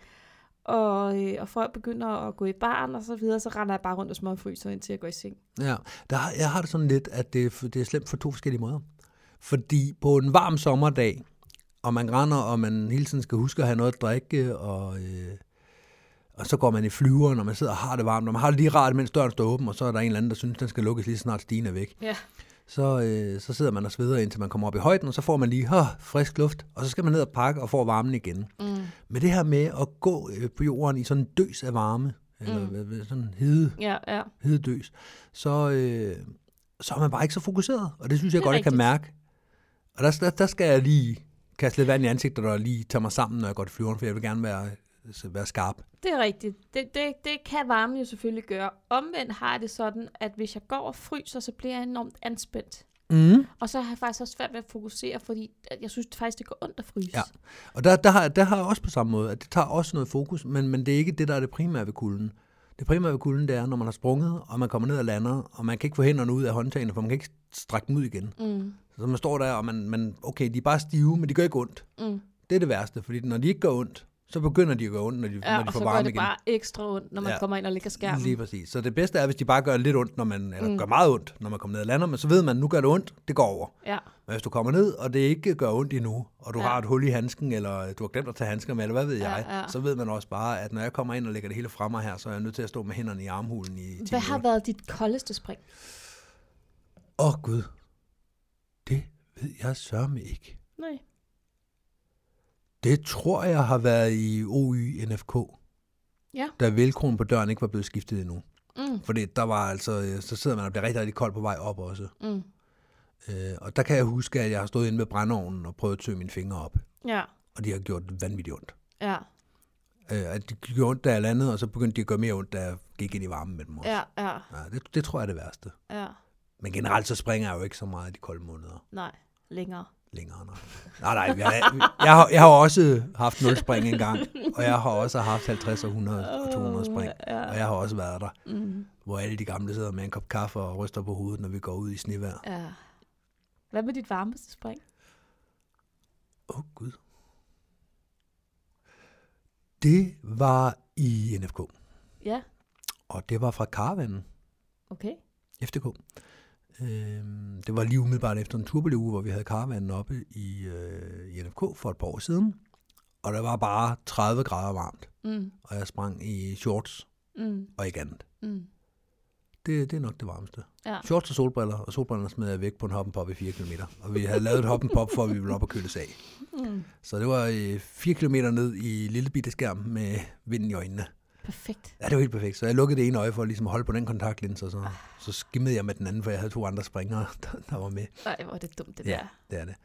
Speaker 2: og, øh, og folk begynder at gå i barn og så videre, så render jeg bare rundt og småfryser, indtil jeg går i seng.
Speaker 1: Ja, der, har- jeg har det sådan lidt, at det, er f- det er slemt for to forskellige måder. Fordi på en varm sommerdag, og man render, og man hele tiden skal huske at have noget at drikke, og, øh, og så går man i flyveren, og man sidder og har det varmt, og man har det lige rart, mens døren står åben, og så er der en eller anden, der synes, den skal lukkes lige så snart stigen er væk.
Speaker 2: Ja.
Speaker 1: Så, øh, så sidder man og sveder, indtil man kommer op i højden, og så får man lige "Huh, frisk luft, og så skal man ned og pakke og får varmen igen.
Speaker 2: Mm.
Speaker 1: Men det her med at gå øh, på jorden i sådan en døs af varme, eller
Speaker 2: Mm.
Speaker 1: hvad- hvad- sådan en hede,
Speaker 2: Ja, ja.
Speaker 1: hededøs, så, øh, så er man bare ikke så fokuseret. Og det synes jeg
Speaker 2: Det er
Speaker 1: godt, jeg kan
Speaker 2: rigtigt.
Speaker 1: mærke. Og der, der, der skal jeg lige kaste lidt vand i ansigtet og lige tage mig sammen, når jeg går til flyveren, for jeg vil gerne være, altså, være skarp.
Speaker 2: Det er rigtigt. Det, det, det kan varmen jo selvfølgelig gøre. Omvendt har jeg det sådan, at hvis jeg går og fryser, så bliver jeg enormt anspændt.
Speaker 1: Mm.
Speaker 2: Og så har jeg faktisk også svært ved at fokusere, fordi at jeg synes det faktisk, det går ondt at fryse.
Speaker 1: Ja. Og der, der, har, der har jeg også på samme måde, at det tager også noget fokus, men, men det er ikke det, der er det primære ved kulden. Det primære ved kulden, det er, når man har sprunget, og man kommer ned og lander, og man kan ikke få hænderne ud af håndtagene, for man kan ikke strække dem ud igen.
Speaker 2: Mm,
Speaker 1: Så man står der, og man, man okay, de er bare stive, men de gør ikke ondt.
Speaker 2: mm.
Speaker 1: Det er det værste, fordi når de ikke gør ondt, så begynder de at gøre ondt, når de,
Speaker 2: Ja,
Speaker 1: når de
Speaker 2: og
Speaker 1: får
Speaker 2: så går
Speaker 1: varme
Speaker 2: det
Speaker 1: igen.
Speaker 2: bare ekstra ondt, når man ja.
Speaker 1: Ja.
Speaker 2: kommer ind og ligger skærmen.
Speaker 1: Lige præcis. Så det bedste er, hvis de bare gør lidt ondt, når man, eller
Speaker 2: Mm.
Speaker 1: mm. gør meget ondt, når man kommer ned og lander, men så ved man, nu gør det ondt, det går over.
Speaker 2: Ja.
Speaker 1: Men hvis du kommer ned, og det ikke gør ondt endnu, og du
Speaker 2: Ja.
Speaker 1: ja. har et hul i handsken, eller du har glemt at tage handsker med, eller hvad ved
Speaker 2: Ja,
Speaker 1: jeg,
Speaker 2: ja.
Speaker 1: så ved man også bare, at når jeg kommer ind og lægger det hele fremme her, så er jeg nødt til at stå med hænderne i armhulen i 10
Speaker 2: Hvad har været dit koldeste spring?
Speaker 1: Åh oh, gud, det ved jeg sørme ikke.
Speaker 2: Nej.
Speaker 1: Det tror jeg har været i OY NFK.
Speaker 2: Ja.
Speaker 1: Da velkronen på døren ikke var blevet skiftet endnu.
Speaker 2: Mm.
Speaker 1: Fordi der var altså, øh, så sidder man og bliver rigtig, rigtig kold på vej op også.
Speaker 2: Mm.
Speaker 1: Øh, og der kan jeg huske, at jeg har stået inde ved brændeovnen og prøvet at tø mine fingre op.
Speaker 2: Ja,
Speaker 1: Og de har gjort vanvittigt ondt.
Speaker 2: ja,
Speaker 1: Øh, at de gjorde ondt, da jeg landede, og så begyndte de at gøre mere ondt, da jeg gik ind i varmen med dem også.
Speaker 2: ja, ja,
Speaker 1: Ja, det, det tror jeg er det værste.
Speaker 2: ja.
Speaker 1: Men generelt så springer jeg jo ikke så meget i de kolde måneder
Speaker 2: Nej, længere.
Speaker 1: længere. Nej, nej, nej jeg, jeg, har, jeg har også haft 0 spring engang, og jeg har også haft 50 og 100 og 200 spring, og jeg har også været der,
Speaker 2: Mm.
Speaker 1: hvor alle de gamle sidder med en kop kaffe og ryster på hovedet, når vi går ud i snevejr.
Speaker 2: Ja. Hvad med dit varmeste spring?
Speaker 1: Åh, oh, Gud. Det var i NFK,
Speaker 2: Ja,
Speaker 1: og det var fra Karavanen,
Speaker 2: okay.
Speaker 1: FDK. Øhm, det var lige umiddelbart efter en turboliuge, hvor vi havde karavanen oppe i, øh, i NFK for et par år siden. Og der var bare 30 grader varmt,
Speaker 2: Mm.
Speaker 1: og jeg sprang i shorts
Speaker 2: Mm.
Speaker 1: og ikke andet.
Speaker 2: Mm.
Speaker 1: Det, det er nok det varmeste.
Speaker 2: Ja.
Speaker 1: Shorts og solbriller, og solbrillerne smed jeg væk på en hoppenpop i 4 km. Og vi havde lavet et hoppenpop, for at vi ville op og køles af.
Speaker 2: Mm.
Speaker 1: Så det var øh, 4 km ned i lille bitte skærm med vinden i øjnene.
Speaker 2: Perfekt.
Speaker 1: Ja, det var helt perfekt. Så jeg lukkede det ene øje for at ligesom holde på den kontaktlinse, og
Speaker 2: Ah.
Speaker 1: så, så skimmede jeg med den anden, for jeg havde to andre springere, der, der var med.
Speaker 2: Nej, hvor er det dumt, det
Speaker 1: Ja,
Speaker 2: der.
Speaker 1: det er det.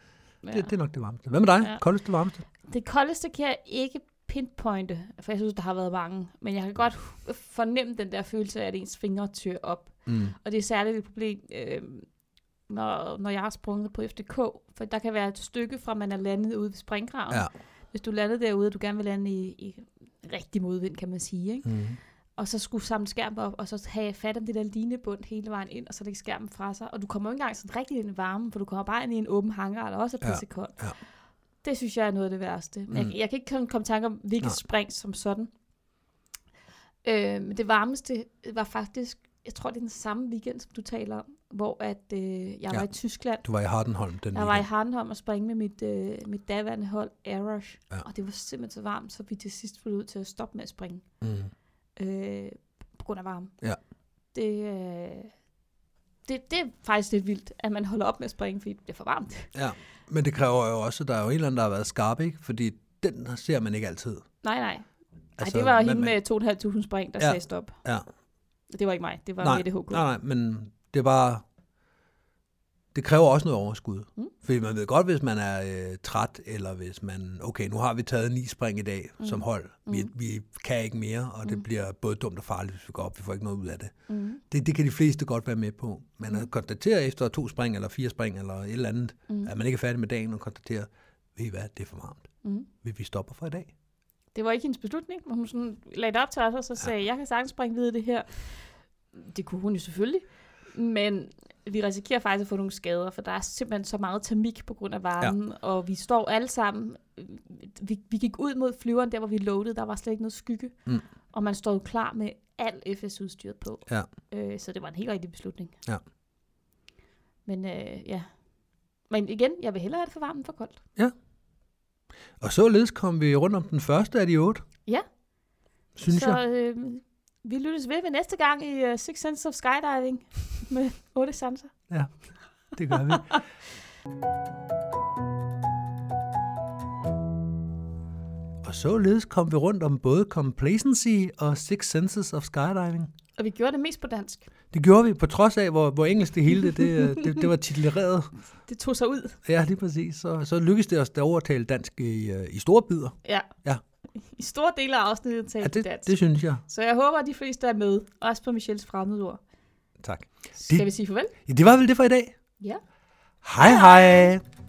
Speaker 2: Ja.
Speaker 1: Det, det er nok det varmeste. Hvad med dig?
Speaker 2: Ja.
Speaker 1: Ja. Koldeste varmeste?
Speaker 2: Det koldeste kan jeg ikke pinpointe, for jeg synes, der har været mange. Men jeg kan godt hu- fornemme den der følelse af, at ens fingre tyrer op.
Speaker 1: Mm.
Speaker 2: Og det er særligt et problem, øh, når, når jeg har sprunget på FDK. For der kan være et stykke fra, man er landet ude ved springgraven.
Speaker 1: Ja.
Speaker 2: Hvis du landede derude, og du gerne vil lande i, i rigtig modvind, kan man sige. Ikke?
Speaker 1: Mm.
Speaker 2: Og så skulle samle skærmen op, og så have fat om det der linebund hele vejen ind, og så lægge skærmen fra sig. Og du kommer jo ikke engang sådan rigtig ind i varmen, for du kommer bare ind i en åben hangar, der også er
Speaker 1: Ja,
Speaker 2: pissekold.
Speaker 1: ja.
Speaker 2: Det synes jeg er noget af det værste. Men jeg,
Speaker 1: Mm.
Speaker 2: jeg kan ikke sådan komme i tanke om, hvilket
Speaker 1: Nej.
Speaker 2: spring som sådan. Øh, men det varmeste var faktisk, jeg tror, det er den samme weekend, som du taler om, hvor at, øh, jeg
Speaker 1: Ja.
Speaker 2: var i Tyskland.
Speaker 1: Du var i Hardenholm den
Speaker 2: Jeg var i
Speaker 1: weekend.
Speaker 2: Hardenholm og springe med mit, øh, mit daværende hold, Arash.
Speaker 1: Ja.
Speaker 2: Og det var simpelthen så varmt, så vi til sidst blev nødt til at stoppe med at springe
Speaker 1: Mm.
Speaker 2: øh, på grund af varme.
Speaker 1: Ja.
Speaker 2: Det, øh, det, det er faktisk lidt vildt, at man holder op med at springe, fordi det bliver for varmt.
Speaker 1: Ja. Men det kræver jo også, at der er jo en eller anden, der har været skarp, ikke? Fordi den ser man ikke altid.
Speaker 2: Nej, nej. Altså,
Speaker 1: Altså,
Speaker 2: Ej, det var
Speaker 1: men-
Speaker 2: hende
Speaker 1: men-
Speaker 2: med 2.500 spring, der ja.
Speaker 1: Ja.
Speaker 2: sagde stop.
Speaker 1: Ja.
Speaker 2: Det var ikke mig, det var
Speaker 1: Nej,
Speaker 2: Mette HK.
Speaker 1: Nej, nej, men det er bare... Det kræver også noget overskud.
Speaker 2: Mm.
Speaker 1: Mm. Fordi man ved godt, hvis man er øh, træt, eller hvis man... Okay, nu har vi taget ni spring i dag mm. som hold. Vi,
Speaker 2: Mm.
Speaker 1: vi kan ikke mere, og det
Speaker 2: Mm.
Speaker 1: bliver både dumt og farligt, hvis vi går op. Vi får ikke noget ud af det.
Speaker 2: Mm,
Speaker 1: Det, det kan de fleste godt være med på. Men at konstatere efter to spring, eller fire spring, eller et eller andet,
Speaker 2: mm,
Speaker 1: at man ikke er færdig med dagen, og konstatere, ved I hvad, det er for varmt.
Speaker 2: mm.
Speaker 1: Vi, vi stopper for i dag.
Speaker 2: Det var ikke hendes beslutning, men hun sådan lagde det op til os, og så sagde, ja. jeg kan sagtens springe videre i det her. Det kunne hun jo selvfølgelig, men vi risikerer faktisk at få nogle skader, for der er simpelthen så meget termik på grund af varmen, ja. og vi står alle sammen. Vi, vi gik ud mod flyveren, der hvor vi loadede, der var slet ikke noget skygge,
Speaker 1: Mm.
Speaker 2: og man stod klar med al FS-udstyret på.
Speaker 1: Ja.
Speaker 2: Øh, så det var en helt rigtig beslutning.
Speaker 1: Ja.
Speaker 2: Men øh, ja. Men igen, jeg vil hellere have det for varmt end for koldt.
Speaker 1: Og således kom vi rundt om den første af de otte.
Speaker 2: Ja.
Speaker 1: Synes
Speaker 2: så,
Speaker 1: jeg.
Speaker 2: Øh, vi lyttes ved ved næste gang i uh, Six Senses of Skydiving med otte sanser.
Speaker 1: Det gør vi. og således kom vi rundt om både Complacency og Six Senses of Skydiving.
Speaker 2: Og vi gjorde det mest på dansk.
Speaker 1: Det gjorde vi på trods af, hvor, hvor engelsk det hele det, det, det, det var tituleret.
Speaker 2: Det tog sig ud.
Speaker 1: Ja, lige præcis. Så, så lykkedes det os at overtale dansk i, øh, i store bidder.
Speaker 2: Ja.
Speaker 1: Ja.
Speaker 2: I store dele af afsnittet talte
Speaker 1: Ja, det,
Speaker 2: dansk.
Speaker 1: det synes jeg.
Speaker 2: Så jeg håber, at de fleste er med, også på Michelles fremmedord.
Speaker 1: Tak.
Speaker 2: Skal vi sige farvel?
Speaker 1: Ja, det var vel det for i dag.
Speaker 2: Ja.
Speaker 1: Hej hej!